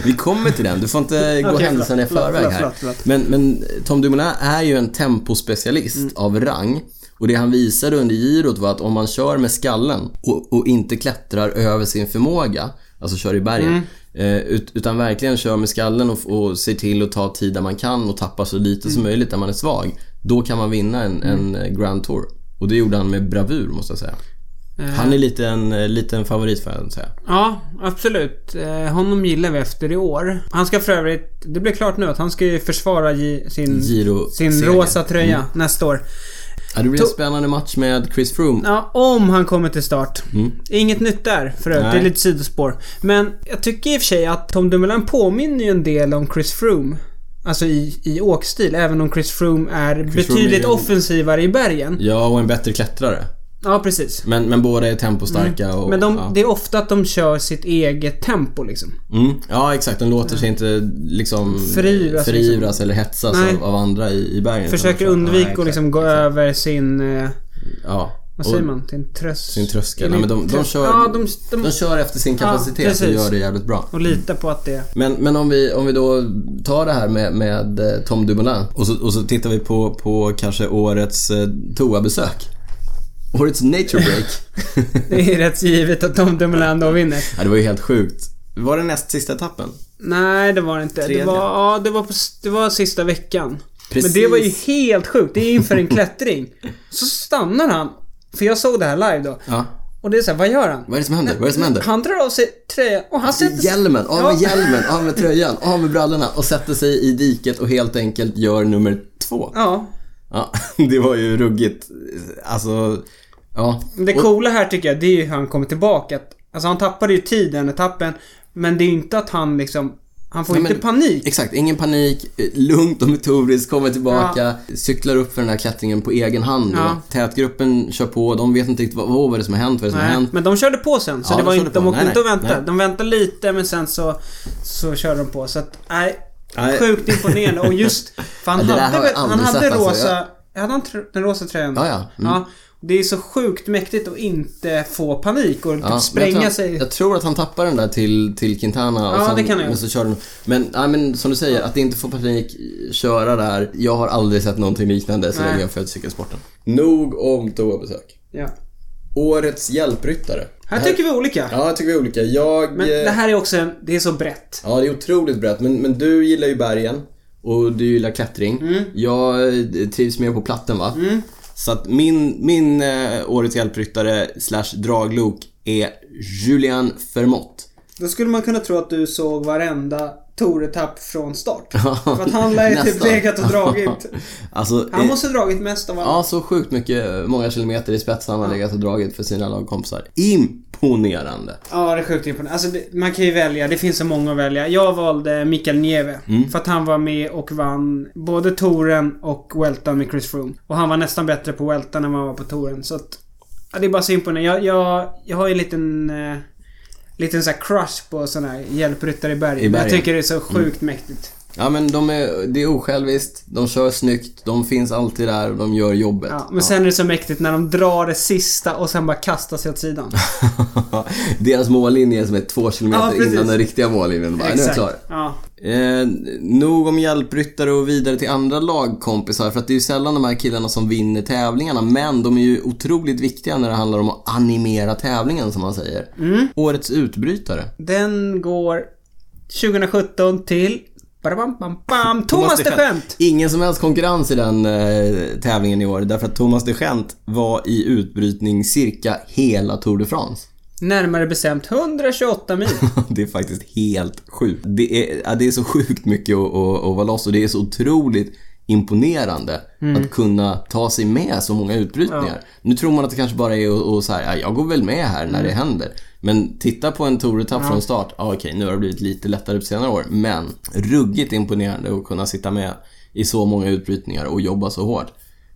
Speaker 2: Vi kommer till den. Du får inte gå
Speaker 1: Okej,
Speaker 2: händelserna i
Speaker 1: förlåt,
Speaker 2: förväg
Speaker 1: förlåt,
Speaker 2: här.
Speaker 1: förlåt, förlåt.
Speaker 2: Men, men Tom Dumoulin är ju en tempospecialist
Speaker 1: Mm.
Speaker 2: av rang. Och det han visade under girot var att om man kör med skallen och, och inte klättrar över sin förmåga, alltså kör i bergen,
Speaker 1: Mm.
Speaker 2: eh, ut, utan verkligen kör med skallen och, och ser till att ta tid där man kan och tappa så lite
Speaker 1: Mm.
Speaker 2: som möjligt där man är svag. Då kan man vinna en, en Grand Tour. Och det gjorde han med bravur måste jag säga. Han är lite en eh, liten favorit för att säga.
Speaker 1: Ja, absolut. Eh, honom gillar vi efter i år. Han ska för övrigt... Det blir klart nu att han ska ju försvara gi- sin,
Speaker 2: Giro
Speaker 1: sin
Speaker 2: seger. Mm.
Speaker 1: rosa tröja nästa år.
Speaker 2: Ja, det blir en spännande match med Chris Froome
Speaker 1: Ja, om han kommer till start. Inget nytt där för övrigt. Det är
Speaker 2: Mm. Nej.
Speaker 1: lite sidospår. Men jag tycker i och för sig att Tom Dumoulin påminner ju en del om Chris Froome. Alltså i, i åkstil, även om Chris Froome är
Speaker 2: Froome är
Speaker 1: betydligt
Speaker 2: ju en-
Speaker 1: offensivare i bergen.
Speaker 2: Ja, och en bättre klättrare.
Speaker 1: Ja, precis.
Speaker 2: Men, men båda är tempostarka och...
Speaker 1: Mm. Men de,
Speaker 2: ja.
Speaker 1: det är ofta att de kör sitt eget tempo liksom.
Speaker 2: Mm. ja, exakt. De låter sig inte liksom
Speaker 1: Förivras,
Speaker 2: förivras eller hetsas
Speaker 1: Nej.
Speaker 2: av, av andra i, i bergen.
Speaker 1: Försöker
Speaker 2: Utan de- Ja,
Speaker 1: undvika
Speaker 2: exakt.
Speaker 1: att liksom gå över sin... Eh,
Speaker 2: Ja.
Speaker 1: vad säger
Speaker 2: Och
Speaker 1: man? Sin tröst...
Speaker 2: Sin tröskel.
Speaker 1: Eller
Speaker 2: Nej, men de, de,
Speaker 1: tröst-
Speaker 2: kör,
Speaker 1: Ja,
Speaker 2: de,
Speaker 1: de, de,
Speaker 2: kör efter sin
Speaker 1: Ja,
Speaker 2: kapacitet
Speaker 1: precis.
Speaker 2: och gör det jävligt bra.
Speaker 1: Och lita på att det...
Speaker 2: Men, men om, vi, om vi då tar det här med, med eh, Tom Dumoulin och så, och så tittar vi på, på kanske årets eh, toabesök. Årets nature break.
Speaker 1: Det är rätt givet att Tom Dumoulin då vinner.
Speaker 2: ja, det var ju helt sjukt. Var det näst sista etappen?
Speaker 1: Nej, det var det inte. Det
Speaker 2: Tredje.
Speaker 1: var, ja, det, var på, s- det var sista veckan.
Speaker 2: Precis.
Speaker 1: Men det var ju helt sjukt. Det är inför en klättring. Så stannar han. För jag såg det här live då.
Speaker 2: Ja.
Speaker 1: Och det är så här, vad gör han?
Speaker 2: Vad är det som händer? Vad är det som händer?
Speaker 1: Han drar av sig tröjan och han sätter sig-
Speaker 2: Hjälmen, av
Speaker 1: Ja.
Speaker 2: med hjälmen, av med tröjan, av med brallorna och sätter sig i diket och helt enkelt gör nummer två.
Speaker 1: Ja.
Speaker 2: Ja, det var ju ruggigt. Alltså, ja.
Speaker 1: Men Det coola här tycker jag, det är ju hur han kommer tillbaka. Att- Alltså han tappade ju tid den etappen. Men det är ju inte att han liksom... Han får
Speaker 2: Nej,
Speaker 1: inte
Speaker 2: men-
Speaker 1: panik.
Speaker 2: Exakt, ingen panik, eh, lugnt och metodiskt, kommer tillbaka, cyklar upp för den här klättringen på egen hand. då.
Speaker 1: Ja.
Speaker 2: Tätgruppen kör på, de vet inte riktigt vad, vad är det som har hänt, vad är det som har
Speaker 1: Nej,
Speaker 2: hänt.
Speaker 1: men de körde på sen. Så
Speaker 2: Ja,
Speaker 1: det
Speaker 2: de
Speaker 1: var
Speaker 2: körde
Speaker 1: inte,
Speaker 2: på.
Speaker 1: de åkte
Speaker 2: Nej,
Speaker 1: inte och
Speaker 2: nej,
Speaker 1: väntade.
Speaker 2: nej.
Speaker 1: De väntade lite men sen så, så körde de på. Så att, nej.
Speaker 2: Nej.
Speaker 1: Sjukt imponerande. Och just, för han
Speaker 2: Ja, det där
Speaker 1: hade,
Speaker 2: har jag
Speaker 1: väl- han
Speaker 2: aldrig
Speaker 1: hade
Speaker 2: sett, alltså.
Speaker 1: rosa... Hade han tr- den rosa tröjan?
Speaker 2: Ja, ja. Mm.
Speaker 1: ja. Det är så sjukt mäktigt att inte få panik och typ
Speaker 2: Ja, men
Speaker 1: spränga
Speaker 2: jag tror,
Speaker 1: sig.
Speaker 2: Jag tror att han tappar den där till, till Quintana.
Speaker 1: Ja,
Speaker 2: och sen,
Speaker 1: det kan han göra.
Speaker 2: Men så kör den. Men, nej, men som du säger, att inte få panik, köra där. Jag har aldrig sett någonting liknande så
Speaker 1: Nej.
Speaker 2: länge jag följt cykelsporten. Nog om toabesök.
Speaker 1: Ja.
Speaker 2: Årets hjälpryttare.
Speaker 1: Här tycker vi olika.
Speaker 2: Ja, jag tycker vi olika. Jag...
Speaker 1: Men
Speaker 2: eh,
Speaker 1: det här är också en, Det är så brett.
Speaker 2: Ja, det är otroligt brett. Men, men du gillar ju bergen och du gillar klättring.
Speaker 1: Mm.
Speaker 2: Jag eh, trivs mer på platten va? Så att min, min eh, årets hjälpryttare slash draglok är Julian Fermott.
Speaker 1: Då skulle man kunna tro att du såg varenda Tour-etapp från start.
Speaker 2: Ja,
Speaker 1: För att han lär ju typ
Speaker 2: nästan.
Speaker 1: legat och dragit.
Speaker 2: Alltså,
Speaker 1: Han
Speaker 2: eh,
Speaker 1: måste ha dragit mest av alla.
Speaker 2: Ja, så sjukt mycket, eh, många kilometer i spetsen han har legat och dragit för sina lagkompisar. Imponerande!
Speaker 1: Ja, det är sjukt imponerande. Alltså, det, man kan ju välja. Det finns så många att välja. Jag valde Mikael Nieve.
Speaker 2: Mm.
Speaker 1: För att han var med och vann både touren och Weltan med Chris Froome. Och han var nästan bättre på Weltan än vad han var på touren. Så att... Ja, det är bara så imponerande. Jag, jag, jag har ju en liten... Eh, liten så här crush på såna här hjälpryttare i bergen.
Speaker 2: I bergen. Mm.
Speaker 1: Jag tycker det är så sjukt mäktigt.
Speaker 2: Ja, men de är, det är osjälviskt, de kör snyggt, de finns alltid där och de gör jobbet.
Speaker 1: Ja, men sen är det så mäktigt när de drar det sista och sen bara kastar sig åt sidan.
Speaker 2: Deras mållinje är som är två
Speaker 1: Ja,
Speaker 2: kilometer
Speaker 1: precis.
Speaker 2: innan den riktiga mållinjen. Bara, nu är jag klar.
Speaker 1: Ja.
Speaker 2: Eh, nog om hjälpryttare och vidare till andra lagkompisar. För att det är ju sällan de här killarna som vinner tävlingarna. Men de är ju otroligt viktiga när det handlar om att animera tävlingen, som man säger. Årets utbrytare.
Speaker 1: Den går 2017 till... Bam, bam, bam, Thomas de Gent!
Speaker 2: Ingen som helst konkurrens i den eh, tävlingen i år. Därför att Thomas de Gent var i utbrytning cirka hela Tour de France.
Speaker 1: Närmare bestämt 128 mil.
Speaker 2: Det är faktiskt helt sjukt. Det är, ja, det är så sjukt mycket att, att, att vara loss och det är så otroligt imponerande att kunna ta sig med så många utbrytningar. Nu tror man att det kanske bara är och, och så här, ja, jag går väl med här när det händer. Men titta på en Tour-etapp från start. Ja, okej, nu har det blivit lite lättare på senare år, men ruggigt imponerande att kunna sitta med i så många utbrytningar och jobba så hårt.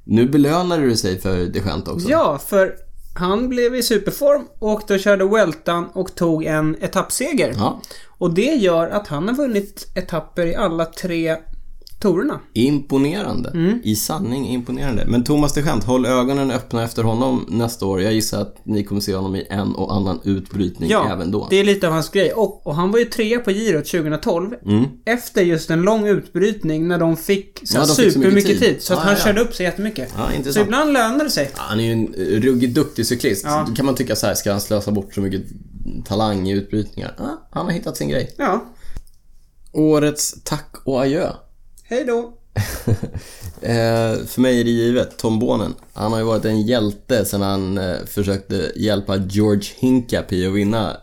Speaker 2: Nu belönade du sig för det skämt också.
Speaker 1: Ja, för han blev i superform, åkte och körde Weltan och tog en etappseger.
Speaker 2: Ja.
Speaker 1: Och det gör att han har vunnit etapper i alla tre torerna.
Speaker 2: Imponerande.
Speaker 1: Mm.
Speaker 2: I sanning imponerande. Men Thomas de Gent, håll ögonen öppna efter honom nästa år. Jag gissar att ni kommer se honom i en och annan utbrytning även då.
Speaker 1: det är lite av hans grej. Och, och han var ju trea på girot 2012.
Speaker 2: Mm.
Speaker 1: Efter just en lång utbrytning när de fick, så
Speaker 2: Ja, de fick så
Speaker 1: supermycket
Speaker 2: mycket
Speaker 1: tid.
Speaker 2: tid.
Speaker 1: Så att
Speaker 2: Ah,
Speaker 1: han
Speaker 2: ja.
Speaker 1: körde upp sig jättemycket.
Speaker 2: Ja,
Speaker 1: så
Speaker 2: intressant.
Speaker 1: ibland lönar det sig.
Speaker 2: Han är ju en eh, ruggigt duktig cyklist.
Speaker 1: Ja.
Speaker 2: Då kan man tycka så här, ska han slösa bort så mycket talang i utbrytningar? Ah, han har hittat sin grej.
Speaker 1: Ja,
Speaker 2: Årets tack och adjö.
Speaker 1: hej då.
Speaker 2: Eh, för mig är det givet. Tom Bonen. Han har ju varit en hjälte sen han eh, försökte hjälpa George Hincapie att vinna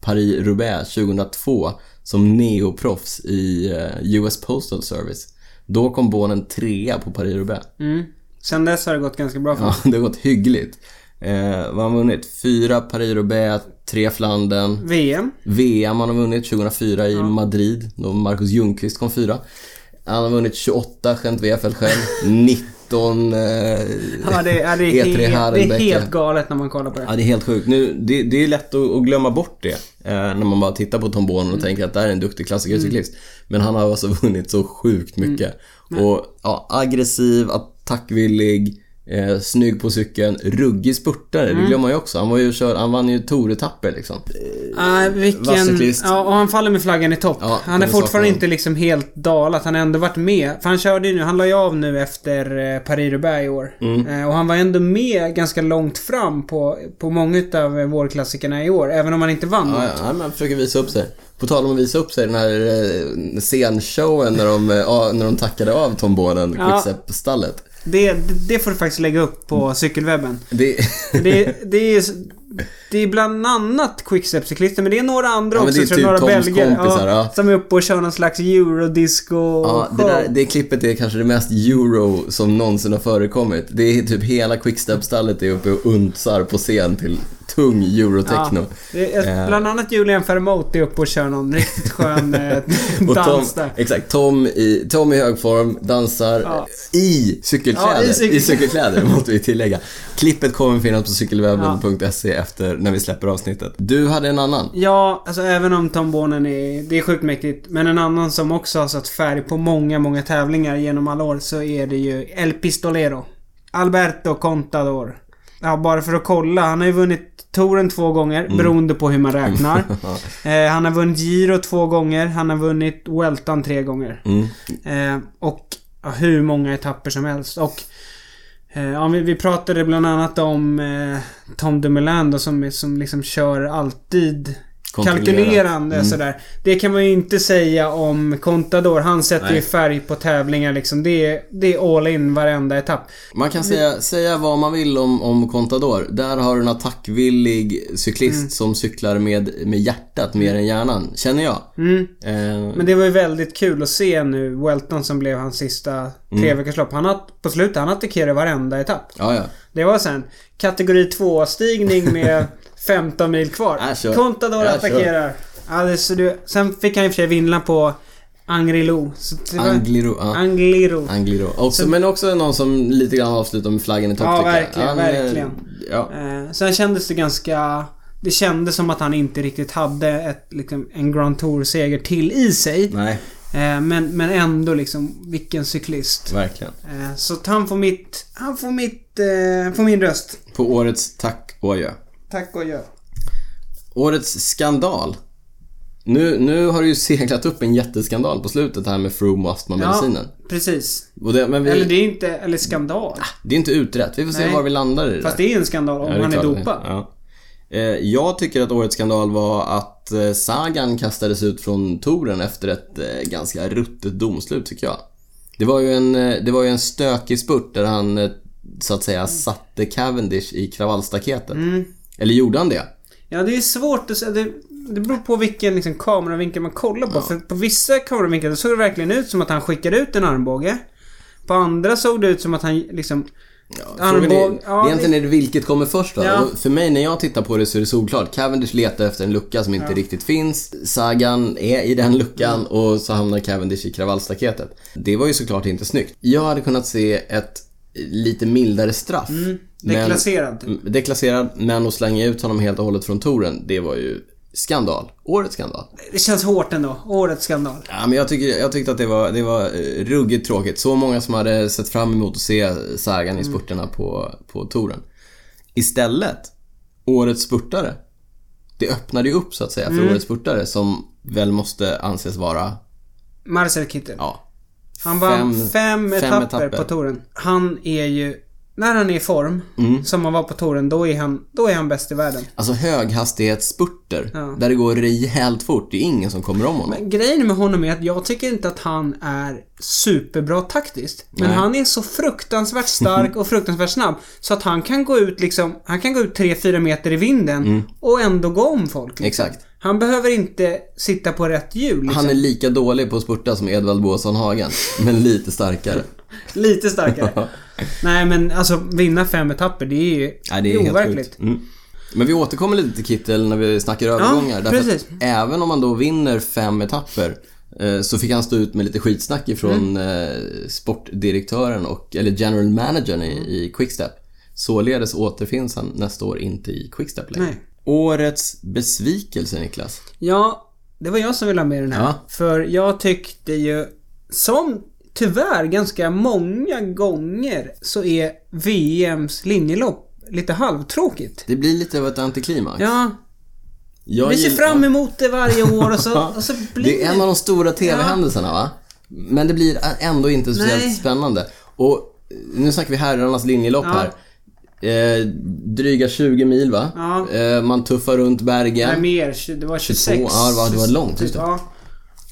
Speaker 2: Paris-Roubaix 2002 som neoproffs i eh, US Postal Service. Då kom Bonen trea på Paris-Roubaix.
Speaker 1: Mm. Sen dess har det gått ganska bra för honom.
Speaker 2: Ja, det har gått hyggligt. Eh, vad har han vunnit? Fyra Paris-Roubaix, tre Flandern.
Speaker 1: VM.
Speaker 2: VM han har vunnit 2004 i Madrid, då Marcus Ljungqvist kom fyra. Han har vunnit 28 Gent Wefel själv, 19 eh, E
Speaker 1: Ja, det, ja, det, är,
Speaker 2: E3
Speaker 1: helt, det är
Speaker 2: Harelbeke.
Speaker 1: helt galet när man kollar på det.
Speaker 2: Ja, det är helt sjukt. Nu, det, det är lätt att, att glömma bort det eh, när man bara tittar på Tom Bonen
Speaker 1: Mm.
Speaker 2: och tänker att det här är en duktig klassikercyklist. Men han har alltså vunnit så sjukt mycket.
Speaker 1: Mm.
Speaker 2: Och ja, aggressiv, attackvillig, eh, snygg på cykeln, ruggig spurtare.
Speaker 1: Mm.
Speaker 2: Det glömmer man ju också. Han, var ju och kör, han vann ju touretapper liksom.
Speaker 1: Nej,
Speaker 2: vass
Speaker 1: vilken...
Speaker 2: cyklist.
Speaker 1: Ja, och han faller med flaggan i topp.
Speaker 2: Ja,
Speaker 1: han är
Speaker 2: det saknar
Speaker 1: fortfarande
Speaker 2: han.
Speaker 1: inte liksom helt dalat. Han har ändå varit med. För han körde ju nu. Han la ju av nu efter eh, Paris-Roubaix i år.
Speaker 2: Mm.
Speaker 1: Eh, Och han var ändå med ganska långt fram på, på många utav eh, vårklassikerna i år. Även om han inte vann.
Speaker 2: Ja, ja, men han försöker visa upp sig. På tal om att visa upp sig, den här eh, scenshowen när de, eh, ja, när de tackade av Tom Bonen,
Speaker 1: Ja.
Speaker 2: Quickstep-stallet.
Speaker 1: Det, det får du faktiskt lägga upp
Speaker 2: Mm.
Speaker 1: på cykelwebben.
Speaker 2: Det,
Speaker 1: Det, det är... Det är bland annat quickstep-cyklister, men det är några andra
Speaker 2: Ja, men
Speaker 1: också.
Speaker 2: det är
Speaker 1: tror
Speaker 2: typ
Speaker 1: jag, några
Speaker 2: Toms kompisar, ja.
Speaker 1: Som är uppe och kör någon slags eurodisco
Speaker 2: ja, det, där, det klippet är kanske det mest euro som någonsin har förekommit. Det är typ hela Quickstep-stallet är uppe och untsar på scen till tung eurotechno.
Speaker 1: Det är,
Speaker 2: Eh.
Speaker 1: bland annat Julian Fermote är uppe och kör någon riktigt skön eh,
Speaker 2: Och Tom,
Speaker 1: dans där.
Speaker 2: exakt, Tom, i, Tom i hög form dansar
Speaker 1: Ja.
Speaker 2: i cykelkläder.
Speaker 1: Ja, i
Speaker 2: i,
Speaker 1: cykel-
Speaker 2: cykelkläder måste vi tillägga. Klippet kommer finnas på cykelwebben.se efter när vi släpper avsnittet. Du hade en annan.
Speaker 1: Ja, alltså även om Tom Bonen är... Det är sjukt mäktigt. Men en annan som också har satt färg på många, många tävlingar genom alla år så är det ju El Pistolero. Alberto Contador. Ja, bara för att kolla. Han har ju vunnit touren två gånger,
Speaker 2: Mm.
Speaker 1: beroende på hur man räknar. eh, han har vunnit Giro två gånger. Han har vunnit Weltan tre gånger.
Speaker 2: Mm.
Speaker 1: Eh, och ja, hur många etapper som helst. Och eh, ja, vi, vi pratade bland annat om eh, Tom Dumoulin då, som, är- som liksom kör alltid
Speaker 2: Kontrollerat.
Speaker 1: kalkylerande sådär. Det kan man ju inte säga om Contador. Han sätter ju färg på tävlingar liksom. Det är, det är all in varenda etapp.
Speaker 2: Man kan säga, säga vad man vill om, om Contador. Där har du en attackvillig cyklist
Speaker 1: Mm.
Speaker 2: som cyklar med, med hjärtat mer än hjärnan, känner jag. Eh,
Speaker 1: Mm. Men det var ju väldigt kul att se nu Welton som blev hans sista treveckorslopp. Han att, på slutet, han attackerade varenda etapp.
Speaker 2: ja, ja.
Speaker 1: Det var sen kategori 2-stigning med 15 mil kvar.
Speaker 2: Äh, kör.
Speaker 1: Contador
Speaker 2: Äh,
Speaker 1: attackerar. Alltså, du, sen fick han i och för sig vinna på Angrilo. Så det var-
Speaker 2: Angliro. Ja.
Speaker 1: Angliro.
Speaker 2: Angliro. Också, men också någon som lite grann avslutar med flaggan i topp
Speaker 1: Ja,
Speaker 2: tycker jag.
Speaker 1: verkligen,
Speaker 2: eh,
Speaker 1: verkligen.
Speaker 2: Ja.
Speaker 1: Eh, sen kändes det ganska... Det kändes som att han inte riktigt hade ett, liksom, en Grand Tour-seger till i sig.
Speaker 2: Nej,
Speaker 1: Eh, men, men ändå liksom, vilken cyklist.
Speaker 2: verkligen.
Speaker 1: Eh, så att han får mitt... Han får mitt... Eh, får min röst.
Speaker 2: På årets tack och adjö.
Speaker 1: Tack och gör.
Speaker 2: Årets skandal. Nu, nu har det ju seglat upp en jätteskandal på slutet här med Froome och astmamedicinen.
Speaker 1: precis.
Speaker 2: Och det, men vi,
Speaker 1: Eller
Speaker 2: det...
Speaker 1: det är inte... Eller skandal.
Speaker 2: är inte utrett. Vi får
Speaker 1: Nej.
Speaker 2: se var vi landar i det
Speaker 1: Fast det är en skandal om
Speaker 2: Ja, det
Speaker 1: han är
Speaker 2: klart.
Speaker 1: dopad.
Speaker 2: Ja. Eh, Jag tycker att årets skandal var att eh, Sagan kastades ut från touren efter ett eh, ganska ruttet domslut, tycker jag. Det var ju en, eh, det var ju en stökig spurt där han, eh, så att säga, satte Cavendish i kravallstaketet.
Speaker 1: Mm.
Speaker 2: Eller gjorde han det?
Speaker 1: Ja, det är svårt att säga. Det, det beror på vilken liksom, kameravinkel man kollar på. För på vissa kameravinklar så såg det verkligen ut som att han skickade ut en armbåge. På andra såg det ut som att han liksom...
Speaker 2: Frågan är,
Speaker 1: Armbåg- ja,
Speaker 2: egentligen är det vilket kommer först då?
Speaker 1: Ja.
Speaker 2: Och För mig när jag tittar på det så är det solklart. Cavendish letar efter en lucka som inte riktigt finns. Sagan är i den luckan och så hamnar Cavendish i kravallstaketet. Det var ju såklart inte snyggt. Jag hade kunnat se ett lite mildare straff. men-
Speaker 1: Mm. Deklasserad.
Speaker 2: Mm, Deklasserad, men att slänga ut honom helt och hållet från touren, det var ju skandal. Årets skandal.
Speaker 1: Det känns hårt ändå. Årets skandal.
Speaker 2: Ja, men jag, tycker, jag tyckte att det var, det var eh, ruggigt tråkigt. Så många som hade sett fram emot att se
Speaker 1: Mm.
Speaker 2: Sagan i spurterna på, på touren. Istället, årets spurtare. Det öppnade ju upp så att säga för
Speaker 1: Mm.
Speaker 2: årets spurtare som väl måste anses vara,
Speaker 1: Marcel Kittel.
Speaker 2: ja.
Speaker 1: Han vann fem,
Speaker 2: fem
Speaker 1: etapper,
Speaker 2: etapper.
Speaker 1: på touren. Han är ju... När han är i form,
Speaker 2: Mm.
Speaker 1: som han var på touren, då är han, då är han bäst i världen.
Speaker 2: Alltså höghastighetsspurter.
Speaker 1: Ja.
Speaker 2: Där det går rejält fort. Det är ingen som kommer om honom.
Speaker 1: Men grejen med honom är att jag tycker inte att han är superbra taktiskt. Men han är så fruktansvärt stark och fruktansvärt snabb. Så att han kan gå ut liksom, han kan gå ut 3-4 meter i vinden och ändå gå om folk. Liksom.
Speaker 2: Mm. Exakt.
Speaker 1: Han behöver inte sitta på rätt hjul. Liksom.
Speaker 2: Han är lika dålig på att spurta som Edvald Båsson Hagen, men lite starkare.
Speaker 1: Lite starkare. Nej men alltså vinna fem etapper, det är ju
Speaker 2: Nej, det är helt sjukt. Mm. Men vi återkommer lite till Kittel när vi snackar övergångar. därför
Speaker 1: precis.
Speaker 2: Att även om man då vinner fem etapper eh, så fick han stå ut med lite skitsnack ifrån
Speaker 1: Mm.
Speaker 2: eh, sportdirektören och, eller general managern i, i Quickstep. Således återfinns han nästa år inte i Quickstep längre.
Speaker 1: Nej.
Speaker 2: Årets besvikelse Niklas.
Speaker 1: Ja, det var jag som ville ha med den här.
Speaker 2: Ja.
Speaker 1: För jag tyckte ju, som tyvärr ganska många gånger, så är VMs linjelopp lite halvtråkigt.
Speaker 2: Det blir lite av ett antiklimax.
Speaker 1: Ja,
Speaker 2: Jag
Speaker 1: vi ser
Speaker 2: gill-
Speaker 1: fram emot det varje år och så, och så blir
Speaker 2: Det är en av de stora TV-händelserna va? Men det blir ändå inte speciellt
Speaker 1: Nej.
Speaker 2: spännande. Och eh, nu snackar vi herrarnas linjelopp här. Eh, dryga 20 mil va?
Speaker 1: Ja.
Speaker 2: Eh, man tuffar runt Bergen.
Speaker 1: Nej, mer. Det var 26.
Speaker 2: ja, det var- det var långt, just det.
Speaker 1: Ja.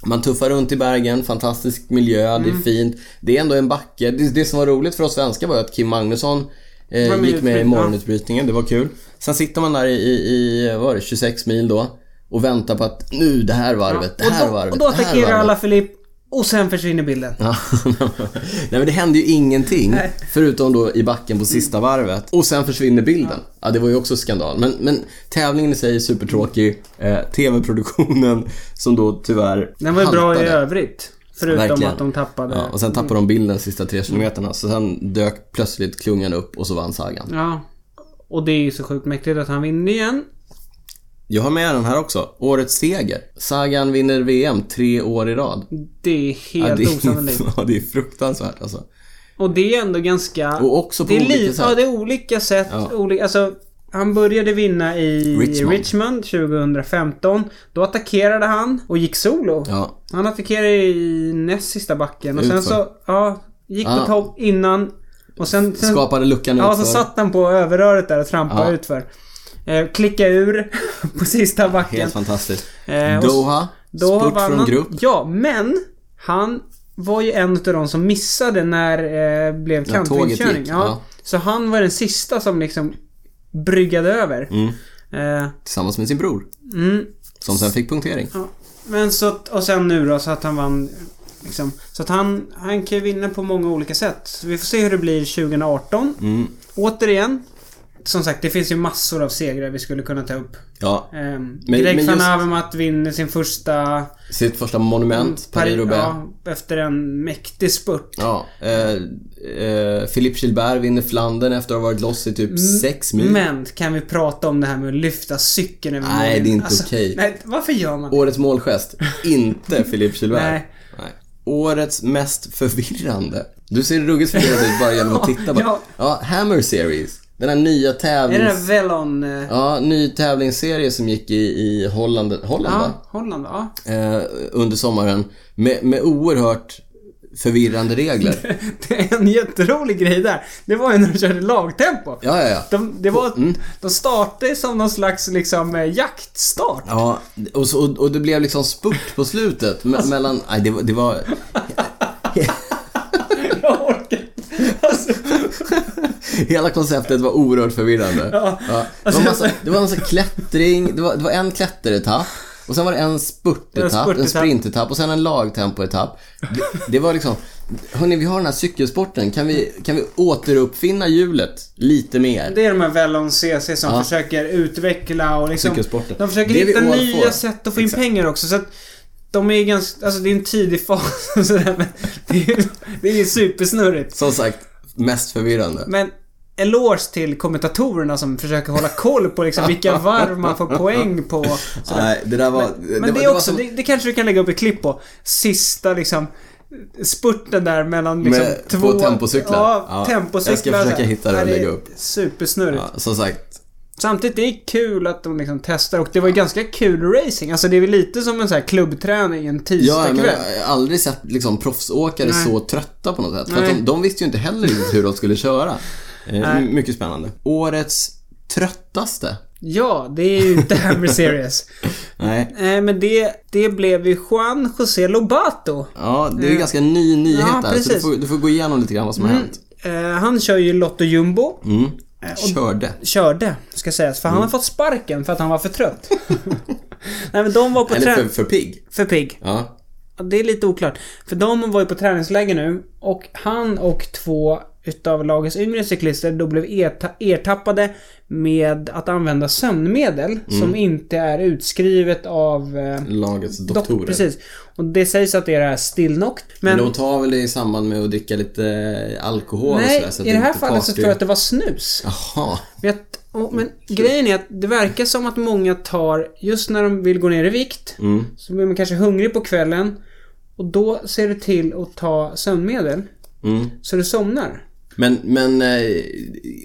Speaker 2: Man tuffar runt i Bergen, fantastisk miljö, det
Speaker 1: Mm.
Speaker 2: är fint. Det är ändå en backe. Det, det som var roligt för oss svenskar var ju att Kim Magnusson
Speaker 1: Var
Speaker 2: eh,
Speaker 1: med i
Speaker 2: gick med i
Speaker 1: utbrytningen.
Speaker 2: morgonutbrytningen. Det var kul. Sen sitter man där i, i, i vad var det, 26 mil då och väntar på att nu det här varvet, det här
Speaker 1: och, då,
Speaker 2: varvet,
Speaker 1: och då
Speaker 2: det här varvet.
Speaker 1: attackerar alla Filip och sen försvinner bilden.
Speaker 2: Ja. Nej men det hände ju ingenting.
Speaker 1: Nej. Mm.
Speaker 2: Förutom då i backen på sista varvet. Och sen försvinner bilden. Ja, det var ju också skandal. Men, men tävlingen i sig är supertråkig. Eh, TV-produktionen som då tyvärr
Speaker 1: Den var ju bra i
Speaker 2: haltade.
Speaker 1: övrigt. Förutom
Speaker 2: Verkligen.
Speaker 1: att de tappade. Mm.
Speaker 2: Ja, och sen tappade de bilden sista tre kilometerna. Så sen dök plötsligt klungan upp och så vann Sagan.
Speaker 1: ja. Och det är ju så sjukt mäktigt att han vinner igen.
Speaker 2: Jag har med den här också. Årets seger. Sagan vinner VM tre år i rad.
Speaker 1: Det är helt
Speaker 2: det,
Speaker 1: osannolikt.
Speaker 2: är, ja, det är fruktansvärt alltså.
Speaker 1: Och det är ändå ganska...
Speaker 2: Och också på
Speaker 1: det är
Speaker 2: olika
Speaker 1: li-
Speaker 2: sätt.
Speaker 1: Ja, det är olika sätt.
Speaker 2: Ja.
Speaker 1: Olika, alltså, han började vinna i
Speaker 2: Richmond.
Speaker 1: Richmond. 2015. Då attackerade han och gick solo.
Speaker 2: Ja.
Speaker 1: Han attackerade i näst sista backen och sen
Speaker 2: Utför.
Speaker 1: så... Ja, gick
Speaker 2: Ah.
Speaker 1: på topp innan. Och sen... sen
Speaker 2: Skapade luckan
Speaker 1: Ja,
Speaker 2: utför.
Speaker 1: så satt han på överröret där och trampade
Speaker 2: Ja.
Speaker 1: utför. Eh, klicka ur på sista backen.
Speaker 2: Helt fantastiskt.
Speaker 1: Eh, och s-
Speaker 2: Doha,
Speaker 1: Då
Speaker 2: spurt
Speaker 1: vann
Speaker 2: från
Speaker 1: han.
Speaker 2: grupp.
Speaker 1: Ja, men han var ju en av de som missade när det eh, blev
Speaker 2: Ja, tåget
Speaker 1: kantringskörning.
Speaker 2: gick,
Speaker 1: Ja,
Speaker 2: ja.
Speaker 1: Så han var den sista som liksom bryggade över.
Speaker 2: Mm.
Speaker 1: Eh,
Speaker 2: Tillsammans med sin bror.
Speaker 1: mm,
Speaker 2: Som sen fick punktering.
Speaker 1: ja. Men så att, och sen nu då så att han vann. Liksom. Så att han, han kan ju vinna på många olika sätt. Så vi får se hur det blir 2018.
Speaker 2: Mm.
Speaker 1: Återigen. Som sagt, det finns ju massor av segrar vi skulle kunna ta upp.
Speaker 2: Ja.
Speaker 1: Ehm,
Speaker 2: Men-
Speaker 1: Greg
Speaker 2: men
Speaker 1: van
Speaker 2: just-
Speaker 1: Avermaet vinner sin första
Speaker 2: Sitt första monument, Paris-Roubaix. Ja.
Speaker 1: Mm, ja, efter en mäktig spurt.
Speaker 2: Eh, eh, Philippe Gilbert vinner Flandern efter att ha varit loss i typ sex mil.
Speaker 1: Mm, Men kan vi prata om det här med att lyfta cykeln över
Speaker 2: Nej,
Speaker 1: mållinjen?
Speaker 2: det är inte okej.
Speaker 1: Nej, varför gör man det?
Speaker 2: Årets målgest. Inte Philippe Gilbert.
Speaker 1: Nej.
Speaker 2: Nej. Årets mest förvirrande. Du ser ruggigt förvirrad ut bara genom att titta på
Speaker 1: Ja.
Speaker 2: ja, Hammer Series. Den här nya
Speaker 1: Är det
Speaker 2: tävlings...
Speaker 1: den där Velon... eh,
Speaker 2: Ja, ny tävlingsserie som gick i, i Holland, Holland va?
Speaker 1: Ja, Holland ja.
Speaker 2: eh, under sommaren med, med oerhört förvirrande regler.
Speaker 1: Det är en jätterolig grej där. Det var ju när de körde lagtempo.
Speaker 2: Ja, Mm. ja, ja.
Speaker 1: De, det var, de startade som någon slags liksom eh, jaktstart.
Speaker 2: Ja, och, så, och, och det blev liksom spurt på slutet me-
Speaker 1: Alltså-
Speaker 2: mellan... Nej, det var... Det var
Speaker 1: Jag orkar alltså,
Speaker 2: hela konceptet var
Speaker 1: Alltså
Speaker 2: oerhört förvirrande. Ja. Det, var massa, det var massa klättring, det var, det var en klätteretapp. Och sen var det en spurtetapp,
Speaker 1: En spurtetapp.
Speaker 2: en sprintetapp och sen en lagtempoetapp. Det, det var liksom, hörni vi har den här cykelsporten, kan vi, kan vi återuppfinna hjulet lite mer?
Speaker 1: Det är de här Vellon CC som försöker utveckla och liksom...
Speaker 2: Cykelsporten.
Speaker 1: De försöker
Speaker 2: Det vi
Speaker 1: hitta
Speaker 2: all
Speaker 1: nya
Speaker 2: får.
Speaker 1: sätt att få in pengar också. Så att de är ganska... Alltså det är en tidig fas och sådär, men det är, ju- det är ju supersnurrigt.
Speaker 2: Som sagt, mest förvirrande.
Speaker 1: Men eloge till kommentatorerna som försöker hålla koll på liksom vilka varv man får poäng på. sådär.
Speaker 2: Nej, det där var...
Speaker 1: Men det,
Speaker 2: var-
Speaker 1: är
Speaker 2: var
Speaker 1: också,
Speaker 2: som-
Speaker 1: det, det kanske du kan lägga upp ett klipp på. Sista liksom spurten där mellan liksom
Speaker 2: Med-
Speaker 1: två...
Speaker 2: på tempocyklar.
Speaker 1: Ja,
Speaker 2: Ja,
Speaker 1: tempocyklar.
Speaker 2: jag ska försöka hitta det och
Speaker 1: Nej, är
Speaker 2: lägga upp.
Speaker 1: Supersnurrigt.
Speaker 2: Ja, som sagt,
Speaker 1: Samtidigt, det är kul att de liksom testar och det var ju ganska kul racing. Alltså det är väl lite som en sån här klubbträning en
Speaker 2: Ja, men
Speaker 1: tisdagkväll.
Speaker 2: jag har aldrig sett liksom, proffsåkare
Speaker 1: Nej.
Speaker 2: så trötta på något sätt. För att
Speaker 1: Nej.
Speaker 2: de, de visste ju inte heller riktigt hur de skulle köra. Eh, mycket spännande. Årets tröttaste?
Speaker 1: Ja, det är ju inte Hammer Series.
Speaker 2: Nej.
Speaker 1: Nej, men det, det blev ju Juan José Lobato.
Speaker 2: Ja, det är ju ganska ny nyhet
Speaker 1: Eh. Ja,
Speaker 2: där. Så du
Speaker 1: precis.
Speaker 2: får, du får gå igenom lite grann vad som har hänt.
Speaker 1: Eh, han kör ju Lotto Jumbo.
Speaker 2: Mm. Körde.
Speaker 1: Körde, ska sägas. För han
Speaker 2: Mm.
Speaker 1: har fått sparken för att han var för trött. Nej, men de var på
Speaker 2: Eller för,
Speaker 1: träning...
Speaker 2: för pigg.
Speaker 1: För pigg.
Speaker 2: Ja.
Speaker 1: Ja, Det är lite oklart. För de var ju på träningsläger nu och han och två utav lagets yngre cyklister då blev erta- ertappade med att använda sömnmedel
Speaker 2: Mm.
Speaker 1: som inte är utskrivet av eh,
Speaker 2: Lagets
Speaker 1: dokt-
Speaker 2: doktorer.
Speaker 1: Precis. Och det sägs att det är det här Stilnoct.
Speaker 2: Men
Speaker 1: Men,
Speaker 2: de tar väl det i samband med att dricka lite alkohol och
Speaker 1: nej,
Speaker 2: sådär, så att
Speaker 1: i det här
Speaker 2: inte
Speaker 1: fallet så
Speaker 2: tas
Speaker 1: tror jag att
Speaker 2: till-
Speaker 1: det var snus.
Speaker 2: Jaha.
Speaker 1: Men, jag, och,
Speaker 2: Mm,
Speaker 1: men grejen är att det verkar som att många tar, just när de vill gå ner i vikt,
Speaker 2: Mm.
Speaker 1: så blir man kanske hungrig på kvällen. Och då ser det till att ta sömnmedel.
Speaker 2: Mm.
Speaker 1: Så du somnar?
Speaker 2: Men, men eh,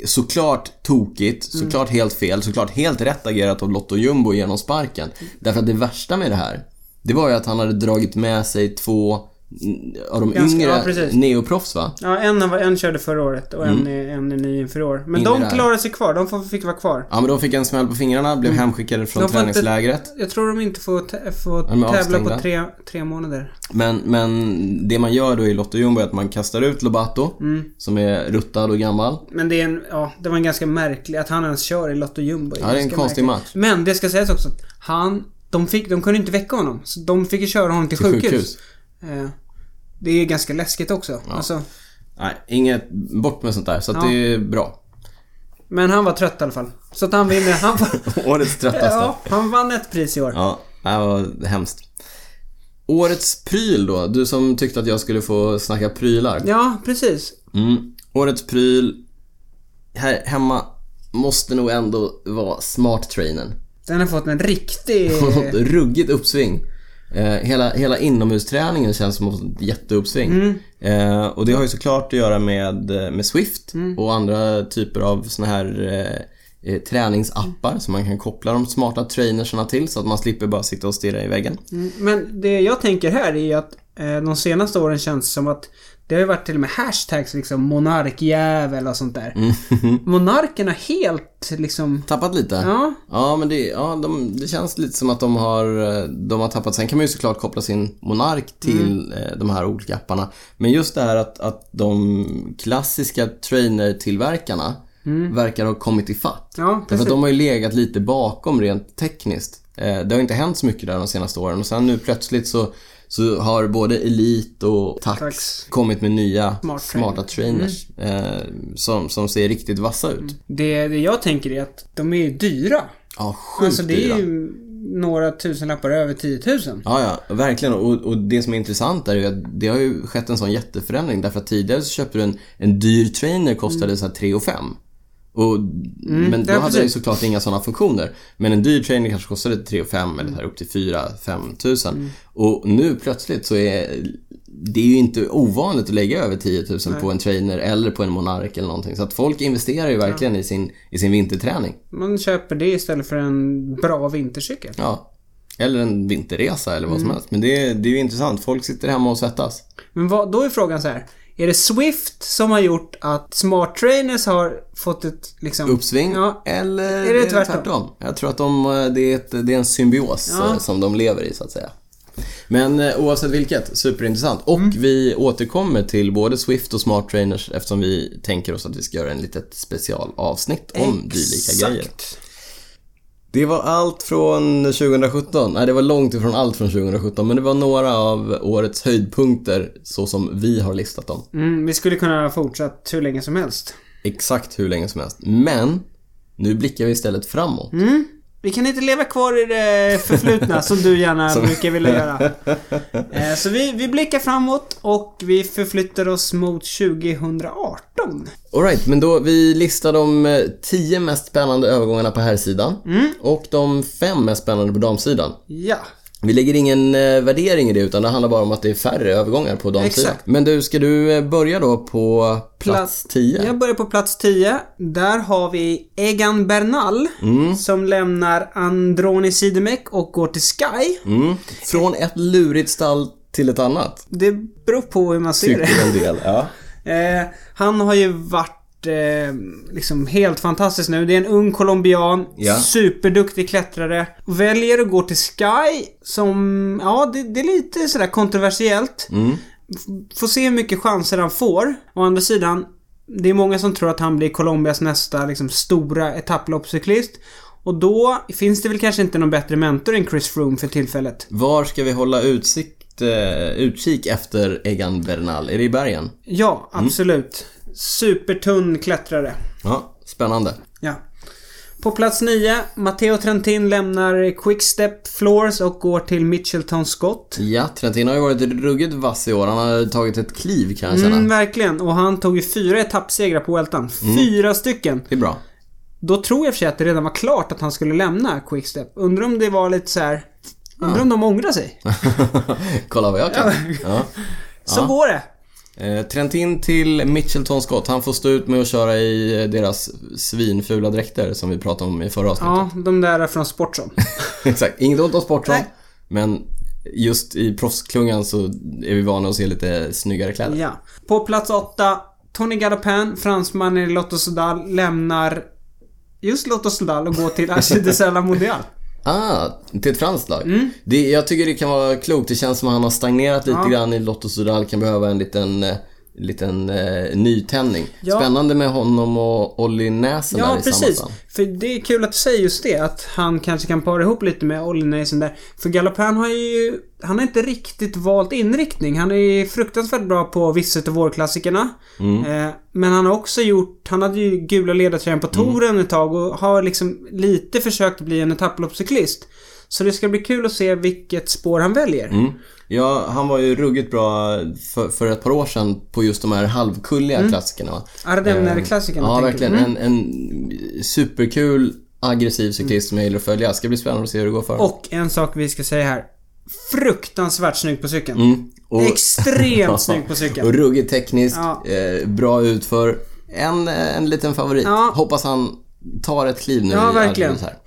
Speaker 2: såklart tokigt,
Speaker 1: Mm.
Speaker 2: såklart helt fel, såklart helt rätt agerat av Lotto Jumbo genom sparken. Därför att det värsta med det här, det var ju att han hade dragit med sig två mm, av de
Speaker 1: Ganska-
Speaker 2: yngre
Speaker 1: ja, precis.
Speaker 2: neoproffs va?
Speaker 1: Ja, en, har- en körde förra året och
Speaker 2: Mm.
Speaker 1: en, är, en är ny inför i år. Men
Speaker 2: In i det
Speaker 1: de
Speaker 2: här.
Speaker 1: klarade sig kvar. De får, fick vara kvar.
Speaker 2: Ja men de fick en smäll på fingrarna, blev hemskickade från
Speaker 1: Mm. De får inte-
Speaker 2: träningslägret.
Speaker 1: Jag tror de inte får, tä- får
Speaker 2: de är
Speaker 1: tävla
Speaker 2: avstängda.
Speaker 1: på tre, tre månader.
Speaker 2: Men, men det man gör då i Lotto Jumbo är att man kastar ut Lobato,
Speaker 1: Mm.
Speaker 2: som är ruttad och gammal.
Speaker 1: Men det är en, ja, det var en ganska märklig, att han ens kör i Lotto Jumbo.
Speaker 2: Ja, det är en
Speaker 1: ganska
Speaker 2: konstig
Speaker 1: märkligt.
Speaker 2: match.
Speaker 1: Men det ska sägas också att han, de, fick, de kunde inte väcka honom. Så de fick ju köra honom till,
Speaker 2: Till
Speaker 1: sjukhus.
Speaker 2: sjukhus.
Speaker 1: Eh, det är ganska läskigt också. Alltså,
Speaker 2: Nej, inget, bort med sånt där. Så att
Speaker 1: Ja.
Speaker 2: det är bra.
Speaker 1: men han var trött i alla fall. Så att han vinner. Han, var,
Speaker 2: Årets tröttaste.
Speaker 1: ja, han vann ett pris i år.
Speaker 2: Ja, det här var hemskt. Årets pryl då, du som tyckte att jag skulle få snacka prylar.
Speaker 1: Ja, precis.
Speaker 2: Mm. Årets pryl här hemma måste nog ändå vara smarttrainen.
Speaker 1: Den har fått en riktig...
Speaker 2: Ett Ruggigt uppsving. Eh, hela, hela inomhusträningen känns som ett jätteuppsving.
Speaker 1: Mm.
Speaker 2: Eh, och det har ju såklart att göra med, eh, med Swift
Speaker 1: Mm.
Speaker 2: och andra typer av såna här eh, eh, träningsappar som man kan koppla de smarta trainersarna till så att man slipper bara sitta och stirra i väggen.
Speaker 1: Mm, Men det jag tänker här är att eh, de senaste åren känns det som att det har ju varit till och med hashtags liksom monarkjävel och sånt där.
Speaker 2: Mm.
Speaker 1: Monarken har helt liksom...
Speaker 2: Tappat lite?
Speaker 1: Ja.
Speaker 2: Ja, men det, ja, de, det känns lite som att de har, eh, de har tappat. Sen kan man ju såklart koppla sin monark
Speaker 1: Mm.
Speaker 2: till eh, de här olika apparna. Men just det här att, att de klassiska trainer-tillverkarna verkar ha kommit i fatt.
Speaker 1: Ja,
Speaker 2: Därför
Speaker 1: Mm. precis.
Speaker 2: att de har ju legat lite bakom rent tekniskt. Eh, det har inte hänt så mycket där de senaste åren och sen nu plötsligt så, så har både Elite och Tax,
Speaker 1: Tax.
Speaker 2: kommit med nya
Speaker 1: Smart Mm.
Speaker 2: smarta trainers eh, som, som ser riktigt vassa ut.
Speaker 1: Det, det jag tänker är att de är ju dyra.
Speaker 2: Ja, sjukt
Speaker 1: Alltså det
Speaker 2: dyra.
Speaker 1: är ju några tusenlappar över 10 000.
Speaker 2: Ja, ja, verkligen. Och, och det som är intressant är ju att det har ju skett en sån jätteförändring. Därför att tidigare så köpte du en, en dyr trainer kostade så här 3 och 5. Och, men då
Speaker 1: Mm, ja,
Speaker 2: hade den ju
Speaker 1: precis.
Speaker 2: såklart inga sådana funktioner. Men en dyr trainer kanske kostade 3 och 5 eller så här upp till 4-5 tusen.
Speaker 1: Mm.
Speaker 2: Och nu plötsligt så är det är ju inte ovanligt att lägga över 10 000 på en trainer eller på en monark eller någonting. Så att folk investerar ju verkligen i, sin, i sin vinterträning.
Speaker 1: Man köper det istället för en bra vintercykel.
Speaker 2: Ja. Eller en vinterresa eller vad
Speaker 1: Mm.
Speaker 2: som helst. Men det, är- det är ju intressant. Folk sitter hemma och svettas.
Speaker 1: Men vad, då är frågan så här. Är det Swift som har gjort att smart trainers har fått ett liksom...
Speaker 2: Uppsving
Speaker 1: Ja.
Speaker 2: eller
Speaker 1: det tvärtom?
Speaker 2: Jag tror att de, eh, det, är ett, det är en symbios
Speaker 1: Ja.
Speaker 2: eh, som de lever i så att säga. Men eh, oavsett vilket, superintressant. Och
Speaker 1: Mm.
Speaker 2: vi återkommer till både Swift och Smart Trainers eftersom vi tänker oss att vi ska göra en litet specialavsnitt om dylika grejer. Det var allt från 2017. Nej, det var långt ifrån allt från 2017, men det var några av årets höjdpunkter så som vi har listat dem.
Speaker 1: Mm, vi skulle kunna ha fortsatt hur länge som helst.
Speaker 2: Exakt hur länge som helst. Men, nu blickar vi istället framåt.
Speaker 1: Mm. Vi kan inte leva kvar i det förflutna som du gärna brukar vilja göra. Eh, Så vi, vi blickar framåt och vi förflyttar oss mot 2018.
Speaker 2: Alright, men då vi listar de eh, 10 mest spännande övergångarna på herrsidan och de fem mest spännande på damsidan.
Speaker 1: Ja.
Speaker 2: Vi lägger ingen eh, värdering i det utan det handlar bara om att det är färre övergångar på damsidan.
Speaker 1: Exakt.
Speaker 2: Men du, ska du eh, börja då på plats 10?
Speaker 1: Jag börjar på plats 10. Där har vi Egan Bernal som lämnar Androni Sidemek och går till Sky.
Speaker 2: Mm. Från ett lurigt stall till ett annat.
Speaker 1: Det beror på hur man ser det.
Speaker 2: Tycker en del. Ja.
Speaker 1: Eh, han har ju varit eh, liksom helt fantastisk nu. Det är en ung colombian,
Speaker 2: Ja.
Speaker 1: superduktig klättrare. Väljer att gå till Sky som, ja det, det är lite sådär kontroversiellt. F- Får se hur mycket chanser han får. Å andra sidan, det är många som tror att han blir Colombias nästa liksom, stora etapploppscyklist. Och då finns det väl kanske inte någon bättre mentor än Chris Froome för tillfället.
Speaker 2: Var ska vi hålla utsikt, eh, utkik efter Egan Bernal? Är det i bergen?
Speaker 1: Ja, absolut. Supertunn klättrare.
Speaker 2: Ja, spännande.
Speaker 1: Ja. På plats 9, Matteo Trentin lämnar Quickstep Floors och går till Mitchelton Scott.
Speaker 2: Ja, Trentin har ju varit ruggigt vass i år. Han har tagit ett kliv kan jag känna.
Speaker 1: Mm, verkligen. Och han tog ju fyra etappsegrar på Weltan. Fyra stycken!
Speaker 2: Det är bra.
Speaker 1: Då tror jag i och för sig att det redan var klart att han skulle lämna Quickstep. Undrar om det var lite så här. Undrar om de ångrar sig.
Speaker 2: Kolla vad jag kan. Ja.
Speaker 1: Så går det!
Speaker 2: Eh, Trentin till Mitchelton Scott. Han får stå ut med att köra i eh, deras svinfula dräkter som vi pratade om i förra avsnittet.
Speaker 1: Ja, de där är från Sportson.
Speaker 2: Exakt. Inget ont om Sportson.
Speaker 1: Nej.
Speaker 2: Men just i proffsklungan så är vi vana att se lite snyggare kläder.
Speaker 1: ja. På plats 8, Tony Galopin, fransmannen i Lotto Sodal, lämnar just Lotto Sodal och går till Archie de Sella Mondial.
Speaker 2: Ah, till ett franskt lag.
Speaker 1: Mm.
Speaker 2: Det, jag tycker det kan vara klokt. Det känns som att han har stagnerat lite grann i Lotto Sudal. Kan behöva en liten, eh, liten eh, nytändning.
Speaker 1: Ja.
Speaker 2: Spännande med honom och Olli Näsen där
Speaker 1: Ja,
Speaker 2: i samma
Speaker 1: precis.
Speaker 2: stall.
Speaker 1: För det är kul att du säger just det. Att han kanske kan para ihop lite med Ollinesen där. För Galopin har ju... Han har inte riktigt valt inriktning. Han är ju fruktansvärt bra på Visit och vårklassikerna.
Speaker 2: Mm.
Speaker 1: Eh, men han har också gjort... Han hade ju gula ledartröjan på
Speaker 2: Mm.
Speaker 1: touren ett tag och har liksom lite försökt bli en etapploppscyklist. Så det ska bli kul att se vilket spår han väljer.
Speaker 2: Mm. Ja, han var ju ruggigt bra för, för ett par år sedan på just de här halvkulliga
Speaker 1: Mm.
Speaker 2: klassikerna. va?
Speaker 1: Ardenner-klassikerna,
Speaker 2: Eh, Ja,
Speaker 1: tänker du?
Speaker 2: verkligen. En, en superkul, aggressiv
Speaker 1: Mm.
Speaker 2: cyklist som jag gillar att följa. Det ska bli spännande att se hur det går för honom.
Speaker 1: Och en sak vi ska säga här. Fruktansvärt snygg på cykeln.
Speaker 2: Mm. Och-
Speaker 1: Extremt snygg på cykeln.
Speaker 2: Och ruggigt tekniskt,
Speaker 1: Ja.
Speaker 2: eh, bra utför. En, eh, en liten favorit.
Speaker 1: Ja.
Speaker 2: Hoppas han tar ett kliv nu
Speaker 1: Ja,
Speaker 2: i
Speaker 1: verkligen.
Speaker 2: Alpernas Här.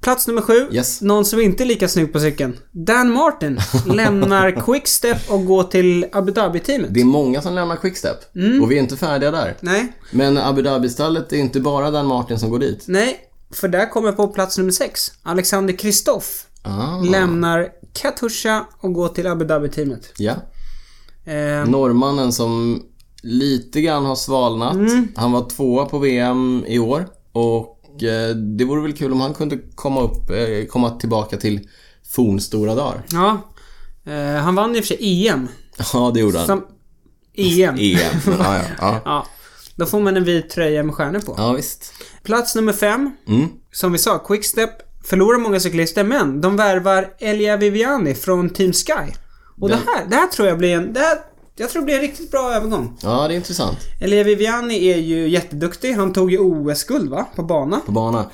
Speaker 1: Plats nummer sju.
Speaker 2: Yes.
Speaker 1: Någon som inte är lika snygg på cykeln. Dan Martin lämnar Quickstep och går till Abu Dhabi-teamet.
Speaker 2: Det är många som lämnar Quickstep och vi är inte färdiga där.
Speaker 1: Mm. Nej,
Speaker 2: Men Abu Dhabi-stallet är inte bara Dan Martin som går dit.
Speaker 1: nej. För där kommer på plats nummer sex. Alexander Kristoff
Speaker 2: Ah,
Speaker 1: lämnar Katusha och går till Abu Dhabi-teamet.
Speaker 2: ja.
Speaker 1: Eh,
Speaker 2: Norrmannen som lite grann har svalnat.
Speaker 1: Mm.
Speaker 2: Han var tvåa på VM i år och eh, det vore väl kul om han kunde komma, upp, eh, komma tillbaka till fornstora dagar.
Speaker 1: ja. Eh, han vann i och för sig EM.
Speaker 2: Ja, E det gjorde han.
Speaker 1: Sam- EM.
Speaker 2: EM. men Ja, ja, ja.
Speaker 1: E Ja. Då får man en vit tröja med stjärnor på.
Speaker 2: ja, visst.
Speaker 1: Plats nummer fem.
Speaker 2: Mm.
Speaker 1: Som vi sa, Quickstep förlorar många cyklister men de värvar Elia Viviani från Team Sky. Och det här, det här tror jag blir en... Det här, jag tror det blir en riktigt bra övergång.
Speaker 2: Ja, det är intressant.
Speaker 1: Elia Viviani är ju jätteduktig. Han tog ju OS-guld va? På bana.
Speaker 2: På bana.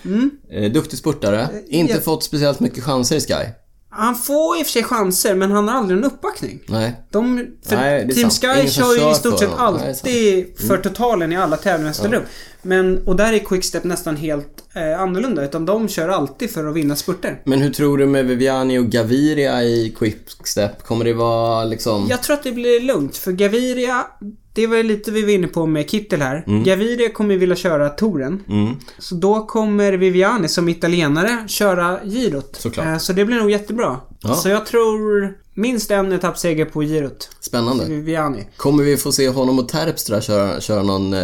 Speaker 2: Eh, duktig spurtare.
Speaker 1: Mm.
Speaker 2: Inte
Speaker 1: ja.
Speaker 2: fått speciellt mycket chanser i Sky.
Speaker 1: Han får i och för sig chanser men han har aldrig en uppbackning.
Speaker 2: Nej.
Speaker 1: De, för
Speaker 2: Nej, det är
Speaker 1: Team
Speaker 2: sant. Ingen
Speaker 1: Sky
Speaker 2: som
Speaker 1: kör ju
Speaker 2: kör
Speaker 1: i stort
Speaker 2: för
Speaker 1: sett
Speaker 2: honom. Nej, det Mm.
Speaker 1: alltid för totalen i alla tävlingar jag ställer upp. Men, och där är Quickstep nästan helt eh, annorlunda. Utan de kör alltid för att vinna spurter.
Speaker 2: Men hur tror du med Viviani och Gaviria i Quickstep? Kommer det vara liksom...
Speaker 1: Jag tror att det blir lugnt för Gaviria Det var ju lite vi var inne på med Kittel här. Gaviria kommer ju vilja köra touren.
Speaker 2: Mm.
Speaker 1: Så då kommer Viviani som italienare köra girot.
Speaker 2: Såklart.
Speaker 1: Eh, Så det blir nog jättebra.
Speaker 2: Ja.
Speaker 1: Så jag tror minst en etappseger på girot. Mm.
Speaker 2: Spännande.
Speaker 1: Viviani.
Speaker 2: Kommer vi få se honom och Terpstra köra, köra någon eh,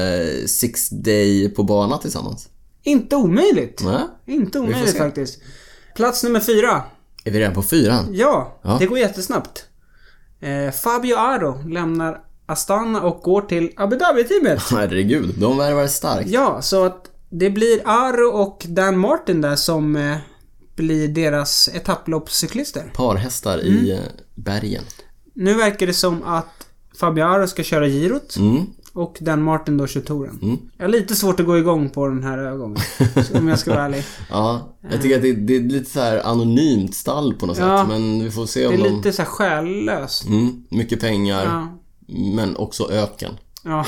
Speaker 2: six day på bana tillsammans?
Speaker 1: Inte omöjligt.
Speaker 2: Nej.
Speaker 1: Inte omöjligt
Speaker 2: se.
Speaker 1: faktiskt. Plats nummer fyra.
Speaker 2: Är vi redan på fyran?
Speaker 1: Ja,
Speaker 2: Ja.
Speaker 1: det går jättesnabbt. Eh, Fabio Aro lämnar Astana och går till Abu Dhabi-teamet.
Speaker 2: Herregud, de värvar starkt.
Speaker 1: Ja, så att det blir Aro och Dan Martin där som eh, blir deras etapploppscyklister.
Speaker 2: Parhästar i
Speaker 1: Mm.
Speaker 2: eh, bergen.
Speaker 1: Nu verkar det som att Fabio Aro ska köra girot
Speaker 2: Mm.
Speaker 1: och Dan Martin då kör touren. Jag har lite svårt att gå igång på den här gången. så om jag ska vara ärlig.
Speaker 2: Ja, jag tycker att det, det är lite så här anonymt stall på något
Speaker 1: Eh. Ja.
Speaker 2: sätt. Men vi får se
Speaker 1: Det
Speaker 2: om
Speaker 1: är
Speaker 2: de...
Speaker 1: lite så här själlöst.
Speaker 2: Mm, mycket pengar,
Speaker 1: Ja.
Speaker 2: men också öken.
Speaker 1: Ja.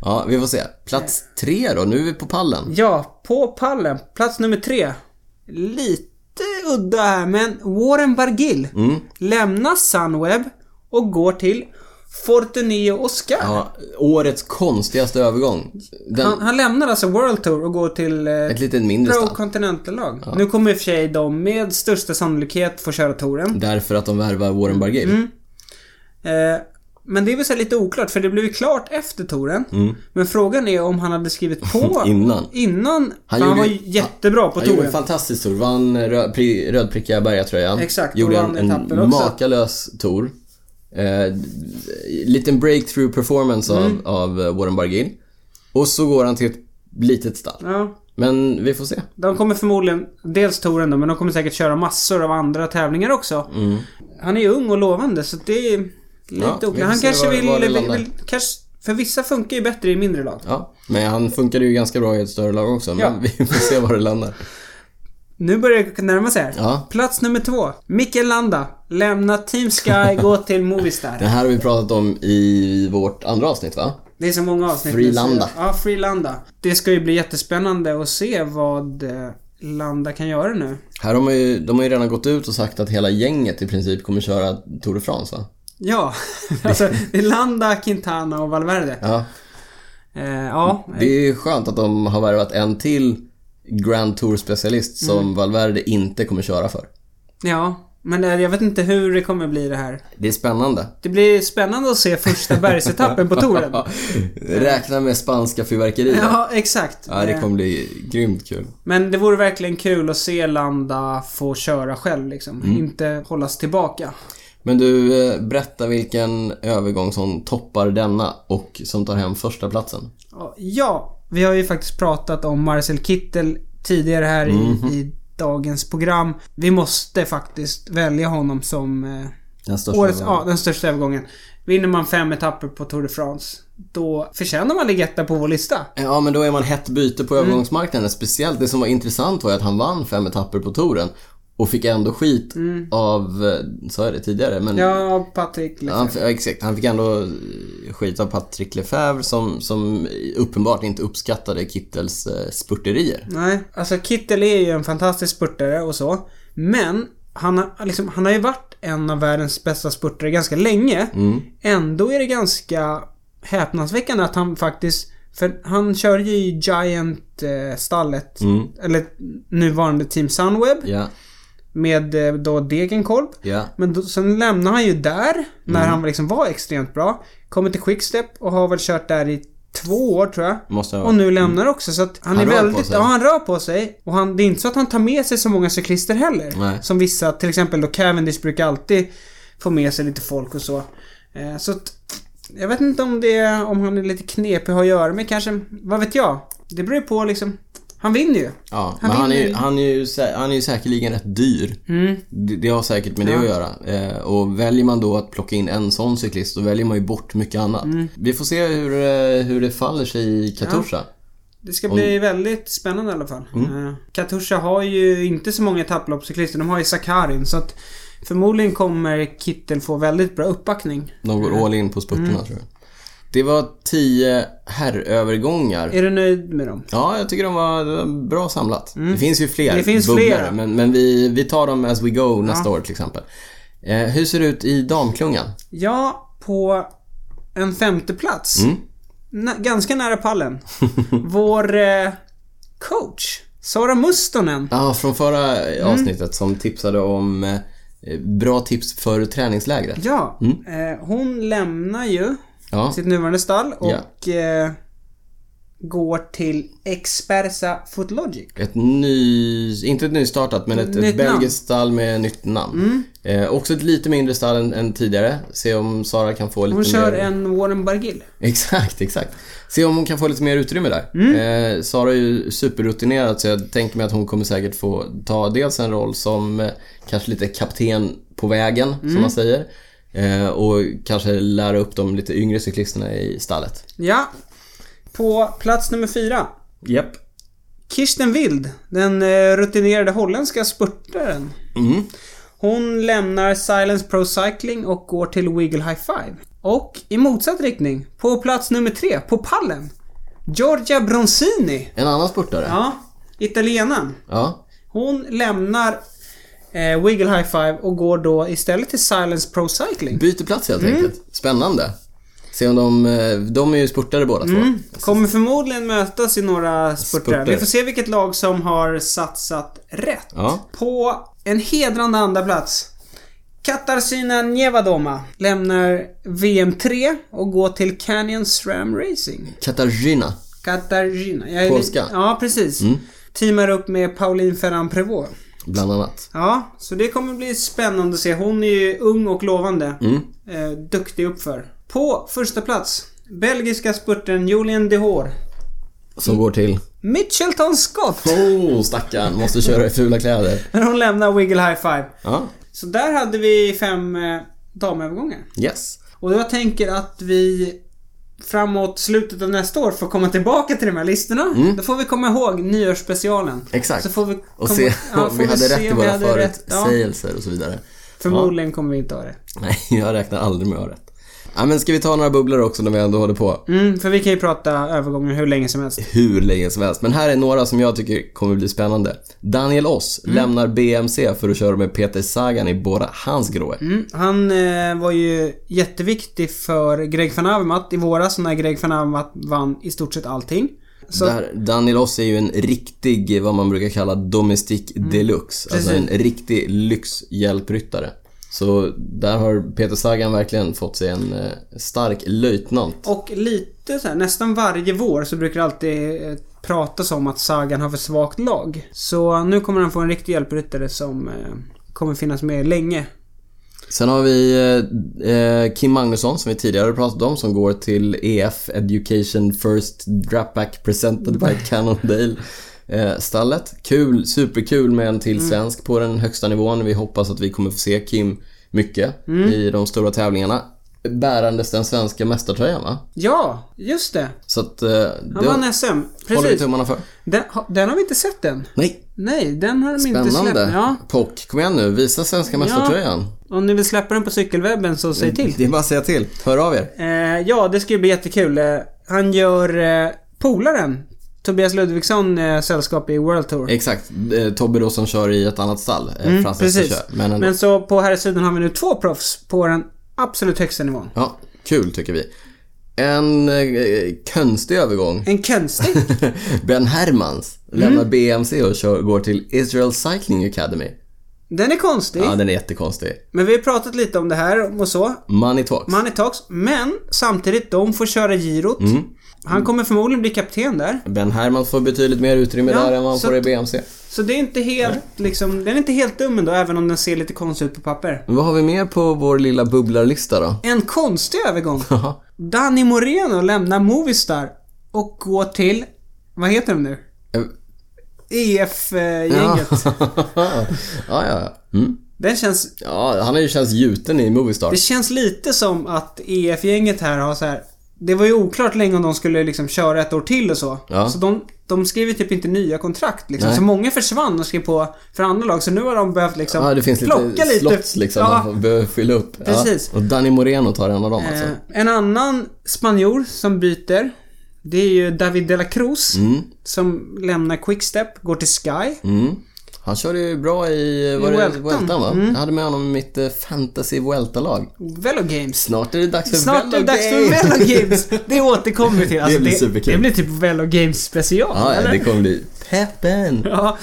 Speaker 2: Ja, vi får se. Plats tre då, nu är vi på pallen.
Speaker 1: ja, på pallen. Plats nummer tre. Lite udda här, men Warren Bargill lämnar Sunweb och går till Fortuneo Oscar.
Speaker 2: Ja, årets konstigaste övergång. Den,
Speaker 1: Han, han lämnar alltså World Tour och går till eh,
Speaker 2: Mm. ett lite mindre
Speaker 1: Pro
Speaker 2: stall.
Speaker 1: Continental-lag. Nu kommer i och för sig de med största sannolikhet få köra touren.
Speaker 2: Därför att de värvar
Speaker 1: Mm.
Speaker 2: Warren Bargill.
Speaker 1: Eh, men det är väl så här lite oklart för det blev ju klart efter touren. Men frågan är om han hade skrivit på
Speaker 2: Mm. Innan.
Speaker 1: innan. Han,
Speaker 2: gjorde
Speaker 1: han var
Speaker 2: ju-
Speaker 1: ju jättebra på
Speaker 2: Han gjorde en
Speaker 1: touren.
Speaker 2: fantastisk tour. Vann rö- pri- rödprickiga bergatröjan.
Speaker 1: Exakt, och
Speaker 2: Gjorde
Speaker 1: vann
Speaker 2: en,
Speaker 1: etapper
Speaker 2: en
Speaker 1: också.
Speaker 2: makalös tour. Eh, liten breakthrough performance
Speaker 1: Mm.
Speaker 2: av, av eh, Warren Bargill. Och så går han till ett litet stall.
Speaker 1: Ja,
Speaker 2: Men vi får se.
Speaker 1: de kommer förmodligen, dels touren då, men de kommer säkert köra massor av andra tävlingar också. Han är ju ung och lovande så det är lite
Speaker 2: Mm. Ja, vi får
Speaker 1: oklart. Han
Speaker 2: se
Speaker 1: kanske
Speaker 2: var-
Speaker 1: vill,
Speaker 2: var det
Speaker 1: vill,
Speaker 2: landar.
Speaker 1: vill kanske, för vissa funkar ju bättre i mindre lag.
Speaker 2: Ja, men han funkade ju ganska bra i ett större lag också. Men
Speaker 1: Ja.
Speaker 2: vi får se var det landar.
Speaker 1: Nu börjar det närma sig här.
Speaker 2: Ja.
Speaker 1: Plats nummer två. Mikael Landa. Lämna Team Sky, gå till Movistar.
Speaker 2: Det här har vi pratat om i vårt andra avsnitt va?
Speaker 1: Det är så många avsnitt.
Speaker 2: Freelanda.
Speaker 1: Ja, Freelanda. Det ska ju bli jättespännande att se vad eh, Landa kan göra nu.
Speaker 2: Här har man ju, de har ju redan gått ut och sagt att hela gänget i princip kommer köra Tour de France va?
Speaker 1: Ja, alltså det är Landa, Quintana och Valverde.
Speaker 2: Ja.
Speaker 1: Eh, ja,
Speaker 2: Det är ju skönt att de har värvat en till Grand Tour-specialist som
Speaker 1: Mm.
Speaker 2: Valverde inte kommer köra för.
Speaker 1: ja. Men eh, jag vet inte hur det kommer bli det här.
Speaker 2: Det är spännande.
Speaker 1: Det blir spännande att se första bergsetappen på touren.
Speaker 2: Räkna med spanska fyrverkerier. Ja.
Speaker 1: Ja, exakt.
Speaker 2: det
Speaker 1: Eh,
Speaker 2: kommer bli grymt kul.
Speaker 1: Men det vore verkligen kul att se Landa få köra själv liksom. Inte hållas tillbaka.
Speaker 2: Men du, eh, berätta vilken övergång som toppar denna och som tar hem första platsen.
Speaker 1: Ja, vi har ju faktiskt pratat om Marcel Kittel tidigare här i, i dagens program. Vi måste faktiskt välja honom som eh,
Speaker 2: Den största
Speaker 1: årets,
Speaker 2: övergången.
Speaker 1: ja, den största övergången. Vinner man fem etapper på Tour de France, då förtjänar man Ligetta på vår lista.
Speaker 2: Ja, men då är man hett byte
Speaker 1: Mm.
Speaker 2: på övergångsmarknaden. Speciellt det som var intressant var ju att han vann fem etapper på touren och fick ändå skit av, eh, sa jag det tidigare, men
Speaker 1: Mm. Ja, Patrik. Liksom.
Speaker 2: Han, ja, exakt. Han fick ändå eh, skit av Patrick Lefebvre som, som uppenbart inte uppskattade Kittels eh, spurterier.
Speaker 1: Nej, alltså Kittel är ju en fantastisk spurtare och så. Men han har, liksom, han har ju varit en av världens bästa spurtare ganska länge. Ändå är det ganska häpnadsväckande att han faktiskt... För han kör ju i Giant-stallet. Eller nuvarande Team Sunweb.
Speaker 2: Ja,
Speaker 1: Med eh, då Degenkolb.
Speaker 2: ja.
Speaker 1: Men då, sen lämnar han ju där, när han liksom var extremt bra. Kommer till Quickstep och har väl kört där i två år tror jag.
Speaker 2: Måste ha
Speaker 1: Och nu lämnar också så att han,
Speaker 2: Han
Speaker 1: är
Speaker 2: rör på
Speaker 1: väldigt,
Speaker 2: sig.
Speaker 1: ja han rör på sig. Och han, det är inte så att han tar med sig så många cyklister heller.
Speaker 2: Nej.
Speaker 1: Som vissa, till exempel då Cavendish brukar alltid få med sig lite folk och så. Eh, så att, jag vet inte om det är, om han är lite knepig att ha att göra med kanske, vad vet jag. Det beror ju på liksom. Han vinner ju.
Speaker 2: Ja,
Speaker 1: Han
Speaker 2: men han är, ju,
Speaker 1: vinner. Mm.
Speaker 2: han, är ju, sä- han är ju säkerligen rätt dyr. Det, det har säkert med det att göra. Eh, och väljer man då att plocka in en sån cyklist, då väljer man ju bort mycket annat.
Speaker 1: Mm.
Speaker 2: Vi får se hur, eh, hur det faller sig i Katusha.
Speaker 1: Det ska bli väldigt spännande i alla fall.
Speaker 2: Mm.
Speaker 1: Eh, Katusha har ju inte så många etapploppscyklister. De har ju Sakarin så att förmodligen kommer Kittel få väldigt bra uppbackning.
Speaker 2: De går all in på spurterna,
Speaker 1: Mm.
Speaker 2: tror jag. Det var tio herrövergångar.
Speaker 1: Är du nöjd med dem?
Speaker 2: Ja, jag tycker de var det var bra samlat. Det finns ju fler
Speaker 1: Mm. Det finns
Speaker 2: bubblare,
Speaker 1: flera.
Speaker 2: men, men vi, vi tar dem as we go nästa år till exempel. Eh, hur ser det ut i damklungan?
Speaker 1: Ja, på en femte plats. Nä- ganska nära pallen. Vår eh, coach, Sara Mustonen.
Speaker 2: Ja, från förra
Speaker 1: Mm.
Speaker 2: eh, avsnittet som tipsade om eh, bra tips för träningslägret.
Speaker 1: Ja, eh, hon lämnar ju
Speaker 2: Ja,
Speaker 1: sitt nuvarande stall och eh, går till Expersa Footlogic.
Speaker 2: Ett ny, inte ett nystartat, men ett, ett
Speaker 1: Nytt namn. Mm.
Speaker 2: belgiskt stall med nytt namn. Eh, också ett lite mindre stall än, än tidigare. Se om Sara kan få lite
Speaker 1: Hon kör
Speaker 2: mer...
Speaker 1: en Warren Bargill.
Speaker 2: Exakt, exakt. Se om hon kan få lite mer utrymme där. Eh, Sara är ju superrutinerad så jag tänker mig att hon kommer säkert få ta dels en roll som eh, kanske lite kapten på vägen, som man säger. Eh, och kanske lära upp de lite yngre cyklisterna i stallet.
Speaker 1: Ja. På plats nummer fyra.
Speaker 2: Japp.
Speaker 1: Kirsten Wild, den eh, rutinerade holländska spurtaren.
Speaker 2: Mm.
Speaker 1: Hon lämnar Silence Pro Cycling och går till Wiggle High Five. Och i motsatt riktning, på plats nummer tre, på pallen. Giorgia Bronzini.
Speaker 2: En annan spurtare.
Speaker 1: Ja, italienaren.
Speaker 2: ja.
Speaker 1: Hon lämnar eh, Wiggle High Five och går då istället till Silence Pro Cycling.
Speaker 2: Byter plats helt enkelt. Spännande. Se om de... eh, De är ju spurtare båda två.
Speaker 1: Kommer förmodligen mötas i några spurter.
Speaker 2: Spurter.
Speaker 1: Vi får se vilket lag som har satsat rätt.
Speaker 2: Ja.
Speaker 1: På en hedrande andra plats. Katarzyna Nievadoma lämnar VM3 och går till Canyon SRAM Racing.
Speaker 2: Katarzyna.
Speaker 1: Katarzyna. Jag är
Speaker 2: Polska.
Speaker 1: Ja, precis. Teamar upp med Pauline Ferrand Prévost.
Speaker 2: Bland annat.
Speaker 1: Ja, så det kommer bli spännande att se. Hon är ju ung och lovande.
Speaker 2: Mm.
Speaker 1: Eh, duktig uppför. På första plats Belgiska spurten Julien Dehor.
Speaker 2: Som går till...
Speaker 1: Mitchelton Scott.
Speaker 2: Oh, stackarn. Måste köra i fula kläder.
Speaker 1: När hon lämnar Wiggle High Five.
Speaker 2: Ja.
Speaker 1: Så där hade vi fem eh, damövergångar.
Speaker 2: Yes.
Speaker 1: Och jag tänker att vi framåt slutet av nästa år får komma tillbaka till de här listorna. Då får vi komma ihåg nyårsspecialen.
Speaker 2: Mm. Exakt.
Speaker 1: Så får vi
Speaker 2: Och
Speaker 1: komma-
Speaker 2: se
Speaker 1: ja,
Speaker 2: om
Speaker 1: får
Speaker 2: vi hade
Speaker 1: se
Speaker 2: rätt i
Speaker 1: om vi
Speaker 2: våra
Speaker 1: hade rätt. Ja,
Speaker 2: förutsägelser och så vidare.
Speaker 1: Förmodligen kommer vi inte ha det.
Speaker 2: Nej, jag räknar aldrig med att ha rätt. Ja, men ska vi ta några bubblor också när vi ändå håller på?
Speaker 1: Mm, för vi kan ju prata övergångar hur länge som helst.
Speaker 2: Hur länge som helst. Men här är några som jag tycker kommer bli spännande. Daniel Oss
Speaker 1: Mm.
Speaker 2: lämnar BMC för att köra med Peter Sagan i Bora Hansgrohe.
Speaker 1: Mm, han eh, var ju jätteviktig för Greg van Avermaet i våras när Greg van Avermaet vann i stort sett allting. Så
Speaker 2: Där Daniel Oss är ju en riktig, vad man brukar kalla domestic deluxe. Alltså en
Speaker 1: Mm. Precis.
Speaker 2: riktig lyxhjälpryttare. Så där har Peter Sagan verkligen fått sig en eh, stark löjtnant.
Speaker 1: Och lite så här, nästan varje vår så brukar det alltid eh, pratas om att Sagan har för svagt lag. Så nu kommer han få en riktig hjälpryttare som eh, kommer finnas med länge.
Speaker 2: Sen har vi eh, eh, Kim Magnusson som vi tidigare pratat om som går till EF Education First Dropback Presented by Cannondale eh, stallet. Kul, superkul med en
Speaker 1: Mm.
Speaker 2: till svensk på den högsta nivån. Vi hoppas att vi kommer få se Kim mycket
Speaker 1: Mm.
Speaker 2: i de stora tävlingarna. Bärandes den svenska mästartröjan va?
Speaker 1: Ja, just det.
Speaker 2: Så att eh, det
Speaker 1: Han vann SM.
Speaker 2: håller vi
Speaker 1: Precis.
Speaker 2: tummarna för.
Speaker 1: Den, ha- den har vi inte sett än.
Speaker 2: Nej,
Speaker 1: Nej, den har de inte
Speaker 2: spännande.
Speaker 1: släppt. Ja.
Speaker 2: Pock, kom igen nu. Visa svenska mästartröjan.
Speaker 1: Om ni vill släppa den på cykelwebben så säg till.
Speaker 2: Det är bara att säga till. Hör av er.
Speaker 1: Eh, ja, det ska ju bli jättekul. Eh, han gör eh, polaren. Tobias Ludvigsson eh, sällskap i World Tour.
Speaker 2: Exakt. Eh, Tobbe då som kör i ett annat stall. Eh, Francis
Speaker 1: Mm, Precis.
Speaker 2: kör. Men, ändå.
Speaker 1: Men så på här sidan har vi nu två proffs på den absolut högsta nivån.
Speaker 2: Ja, kul tycker vi. En eh, konstig övergång.
Speaker 1: En konstig.
Speaker 2: ben Hermans
Speaker 1: Mm.
Speaker 2: lämnar BMC och kör, går till Israel Cycling Academy.
Speaker 1: Den är konstig.
Speaker 2: Ja, den är jättekonstig.
Speaker 1: Men vi har pratat lite om det här och så.
Speaker 2: Money talks.
Speaker 1: Money talks. Men samtidigt, de får köra girot.
Speaker 2: Mm.
Speaker 1: Han kommer förmodligen bli kapten där.
Speaker 2: ben Hermans får betydligt mer utrymme
Speaker 1: Ja,
Speaker 2: där än vad han
Speaker 1: så
Speaker 2: får i
Speaker 1: att-
Speaker 2: BMC.
Speaker 1: Så det är inte helt, liksom, den är inte helt dum ändå, även om den ser lite konstig ut på papper.
Speaker 2: Vad har vi mer på vår lilla bubblarlista då?
Speaker 1: En konstig övergång.
Speaker 2: Jaha.
Speaker 1: Danny Moreno lämnar Movistar och går till, vad heter de nu? E eh,
Speaker 2: Eh,
Speaker 1: EF-gänget.
Speaker 2: ja, ja, ja. Mm.
Speaker 1: Den känns
Speaker 2: ja. Han har ju känts gjuten i Movistar.
Speaker 1: Det känns lite som att EF-gänget här har så här. Det var ju oklart länge om de skulle liksom köra ett år till och så.
Speaker 2: Ja.
Speaker 1: Så de, de skrev ju typ inte nya kontrakt liksom.
Speaker 2: Nej.
Speaker 1: Så många försvann och skrev på för andra lag. Så nu har de behövt liksom
Speaker 2: Ja, det finns lite slots liksom.
Speaker 1: Ja,
Speaker 2: Man behöver fylla upp. Ja.
Speaker 1: Precis.
Speaker 2: Och Danny Moreno tar en av dem alltså.
Speaker 1: eh, en annan spanjor som byter. Det är ju David de la Cruz. Som lämnar Quickstep, går till Sky.
Speaker 2: Mm. Han körde ju bra i, var
Speaker 1: I Mm.
Speaker 2: det
Speaker 1: Vueltan.
Speaker 2: Vueltan va? Jag hade med honom i mitt eh, fantasy Vuelta-lag.
Speaker 1: Velo Games.
Speaker 2: Snart är det dags för
Speaker 1: Snart är det dags för
Speaker 2: Velo Games.
Speaker 1: Velo Games. Det återkommer vi till. Alltså,
Speaker 2: blir superkul.
Speaker 1: Det blir typ Velo Games special.
Speaker 2: Ja, ja,
Speaker 1: eller?
Speaker 2: det kommer bli peppen.
Speaker 1: Ja.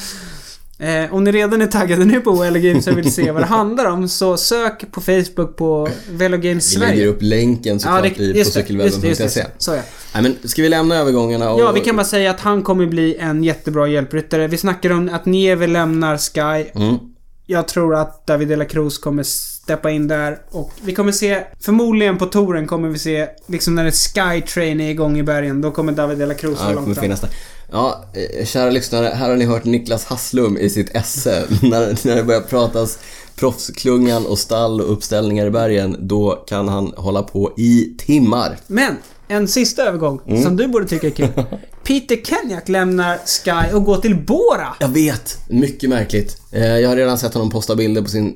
Speaker 1: Eh, om ni redan är taggade nu på Velo Games och vill se vad det handlar om så sök på Facebook på Velo Games
Speaker 2: Vi lägger
Speaker 1: Sverige.
Speaker 2: upp länken
Speaker 1: Ja,
Speaker 2: såklart
Speaker 1: det-
Speaker 2: i, på
Speaker 1: just det, just det, just det, just
Speaker 2: cykelwebben.se.
Speaker 1: det. Så ja.
Speaker 2: Nej, men ska vi lämna övergångarna? Och,
Speaker 1: Ja, vi kan bara säga att han kommer bli en jättebra hjälpryttare. Vi snackar om att Nieve lämnar Sky.
Speaker 2: Mm.
Speaker 1: Jag tror att David de la Cruz kommer steppa in där och vi kommer se, förmodligen på touren kommer vi se, liksom när en Sky Train är igång i bergen, då kommer David de la Cruz
Speaker 2: Ja,
Speaker 1: vara
Speaker 2: det kommer
Speaker 1: långt fram.
Speaker 2: finnas där. Ja, eh, kära lyssnare, här har ni hört Niklas Hasslum i sitt esse. när, när det börjar pratas proffsklungan och stall och uppställningar i bergen, då kan han hålla på i timmar.
Speaker 1: Men, en sista övergång
Speaker 2: Mm.
Speaker 1: som du borde tycka är kul. Peter Kenyak lämnar Sky och går till Bora.
Speaker 2: Jag vet, mycket märkligt. Eh, Jag har redan sett honom posta bilder på sin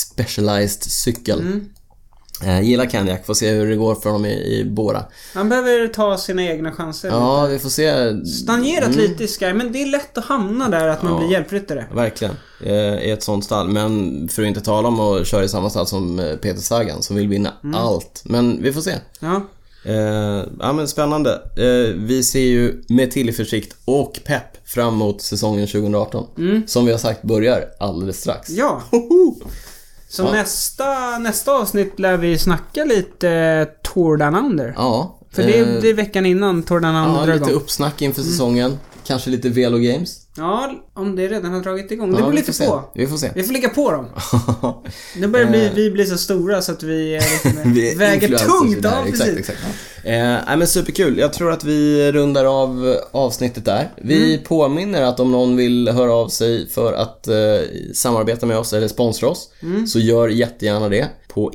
Speaker 2: specialized cykel.
Speaker 1: Mm.
Speaker 2: Eh, Gillar Kanyak, får se hur det går för honom i, i Bora.
Speaker 1: Han behöver ta sina egna chanser.
Speaker 2: Ja, Mm. vi får se.
Speaker 1: Stagnerat lite i Sky, men det är lätt att hamna där att man blir hjälpryttare.
Speaker 2: Verkligen. Eh, I ett sånt stall. Men för att inte tala om att köra i samma stall som eh, Peter Sagan som vill vinna
Speaker 1: Mm.
Speaker 2: allt. Men vi får se.
Speaker 1: Ja.
Speaker 2: Eh, ja men spännande. Eh, vi ser ju med tillförsikt och pepp fram emot säsongen 2018. Som vi har sagt börjar alldeles strax.
Speaker 1: Mm. Ja. Så nästa, nästa avsnitt lär vi snacka lite eh, Tour Down Under.
Speaker 2: Ja.
Speaker 1: För det
Speaker 2: eh,
Speaker 1: är, det är veckan innan Tour Down Under
Speaker 2: ja,
Speaker 1: drar
Speaker 2: lite
Speaker 1: igång.
Speaker 2: uppsnack inför
Speaker 1: Mm.
Speaker 2: säsongen. Kanske lite Velo Games.
Speaker 1: Ja, om det redan har dragit igång. Det
Speaker 2: Ja,
Speaker 1: beror
Speaker 2: vi
Speaker 1: lite
Speaker 2: får se.
Speaker 1: på.
Speaker 2: Vi får se.
Speaker 1: Vi får ligga på dem. Nu börjar bli, vi bli så stora så att vi, eh, liksom,
Speaker 2: Eh. Vi är
Speaker 1: väger
Speaker 2: influencers i
Speaker 1: tungt.
Speaker 2: det här.
Speaker 1: Ja,
Speaker 2: exakt,
Speaker 1: precis.
Speaker 2: exakt. Eh, nej, men superkul. Jag tror att vi rundar av eh, avsnittet där. Vi
Speaker 1: Mm.
Speaker 2: påminner att om någon vill höra av sig för att eh, samarbeta med oss eller sponsra oss
Speaker 1: Mm.
Speaker 2: så gör jättegärna det på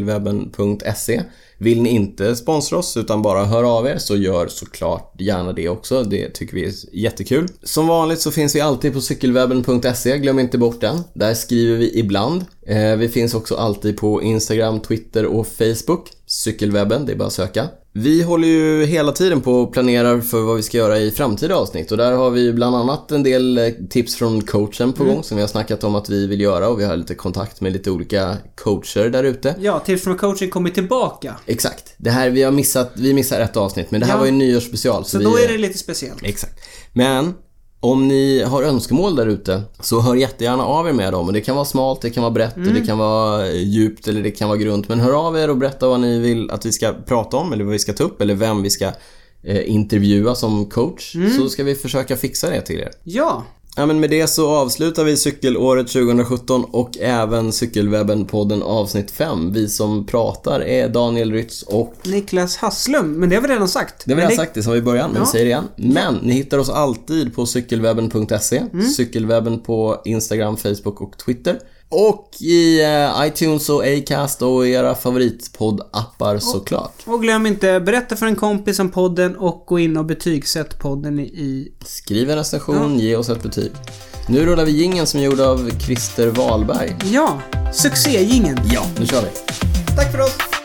Speaker 2: info.cykelwebben.se. Vill ni inte sponsra oss utan bara höra av er så gör såklart gärna det också. Det tycker vi är jättekul. Som vanligt så finns vi alltid på cykelwebben.se. Glöm inte bort den. Där skriver vi ibland. Eh, vi finns också alltid på Instagram, Twitter och Facebook. Cykelwebben, det är bara att söka. Vi håller ju hela tiden på och planerar för vad vi ska göra i framtida avsnitt och där har vi ju bland annat en del eh, tips från coachen
Speaker 1: Mm.
Speaker 2: på gång som vi har snackat om att vi vill göra och vi har lite kontakt med lite olika coacher där ute.
Speaker 1: Ja, tips från coachen kommer tillbaka.
Speaker 2: Exakt. Det här, vi har missat, vi missar ett avsnitt men det här
Speaker 1: Ja.
Speaker 2: var ju en nyårsspecial.
Speaker 1: Så
Speaker 2: vi,
Speaker 1: då är det lite speciellt.
Speaker 2: Exakt. Men om ni har önskemål där ute så hör jättegärna av er med dem. Och det kan vara smalt, det kan vara brett, det kan vara eh, djupt eller det kan vara grunt. Men hör av er och berätta vad ni vill att vi ska prata om eller vad vi ska ta upp eller vem vi ska eh, intervjua som coach. Så ska vi försöka fixa det till er.
Speaker 1: Ja,
Speaker 2: Ja, men med det så avslutar vi cykelåret 2017 och även Cykelwebben-podden avsnitt 5. Vi som pratar är Daniel Rytz och
Speaker 1: Niklas Hasslum. Men det har vi redan sagt.
Speaker 2: det var
Speaker 1: Men
Speaker 2: jag sagt det som vi i början, men vi säger det igen. Men ni hittar oss alltid på cykelwebben.se,
Speaker 1: Mm.
Speaker 2: cykelwebben på Instagram, Facebook och Twitter. Och i eh, iTunes och Acast och era favoritpoddappar såklart.
Speaker 1: Och glöm inte, berätta för en kompis om podden och gå in och betygsätt podden i- i...
Speaker 2: Skriv en recension, ge oss ett betyg. Nu rullar vi jingeln som är gjord av Christer Wahlberg.
Speaker 1: Ja, succégingen.
Speaker 2: Ja, nu kör vi.
Speaker 1: Tack för oss!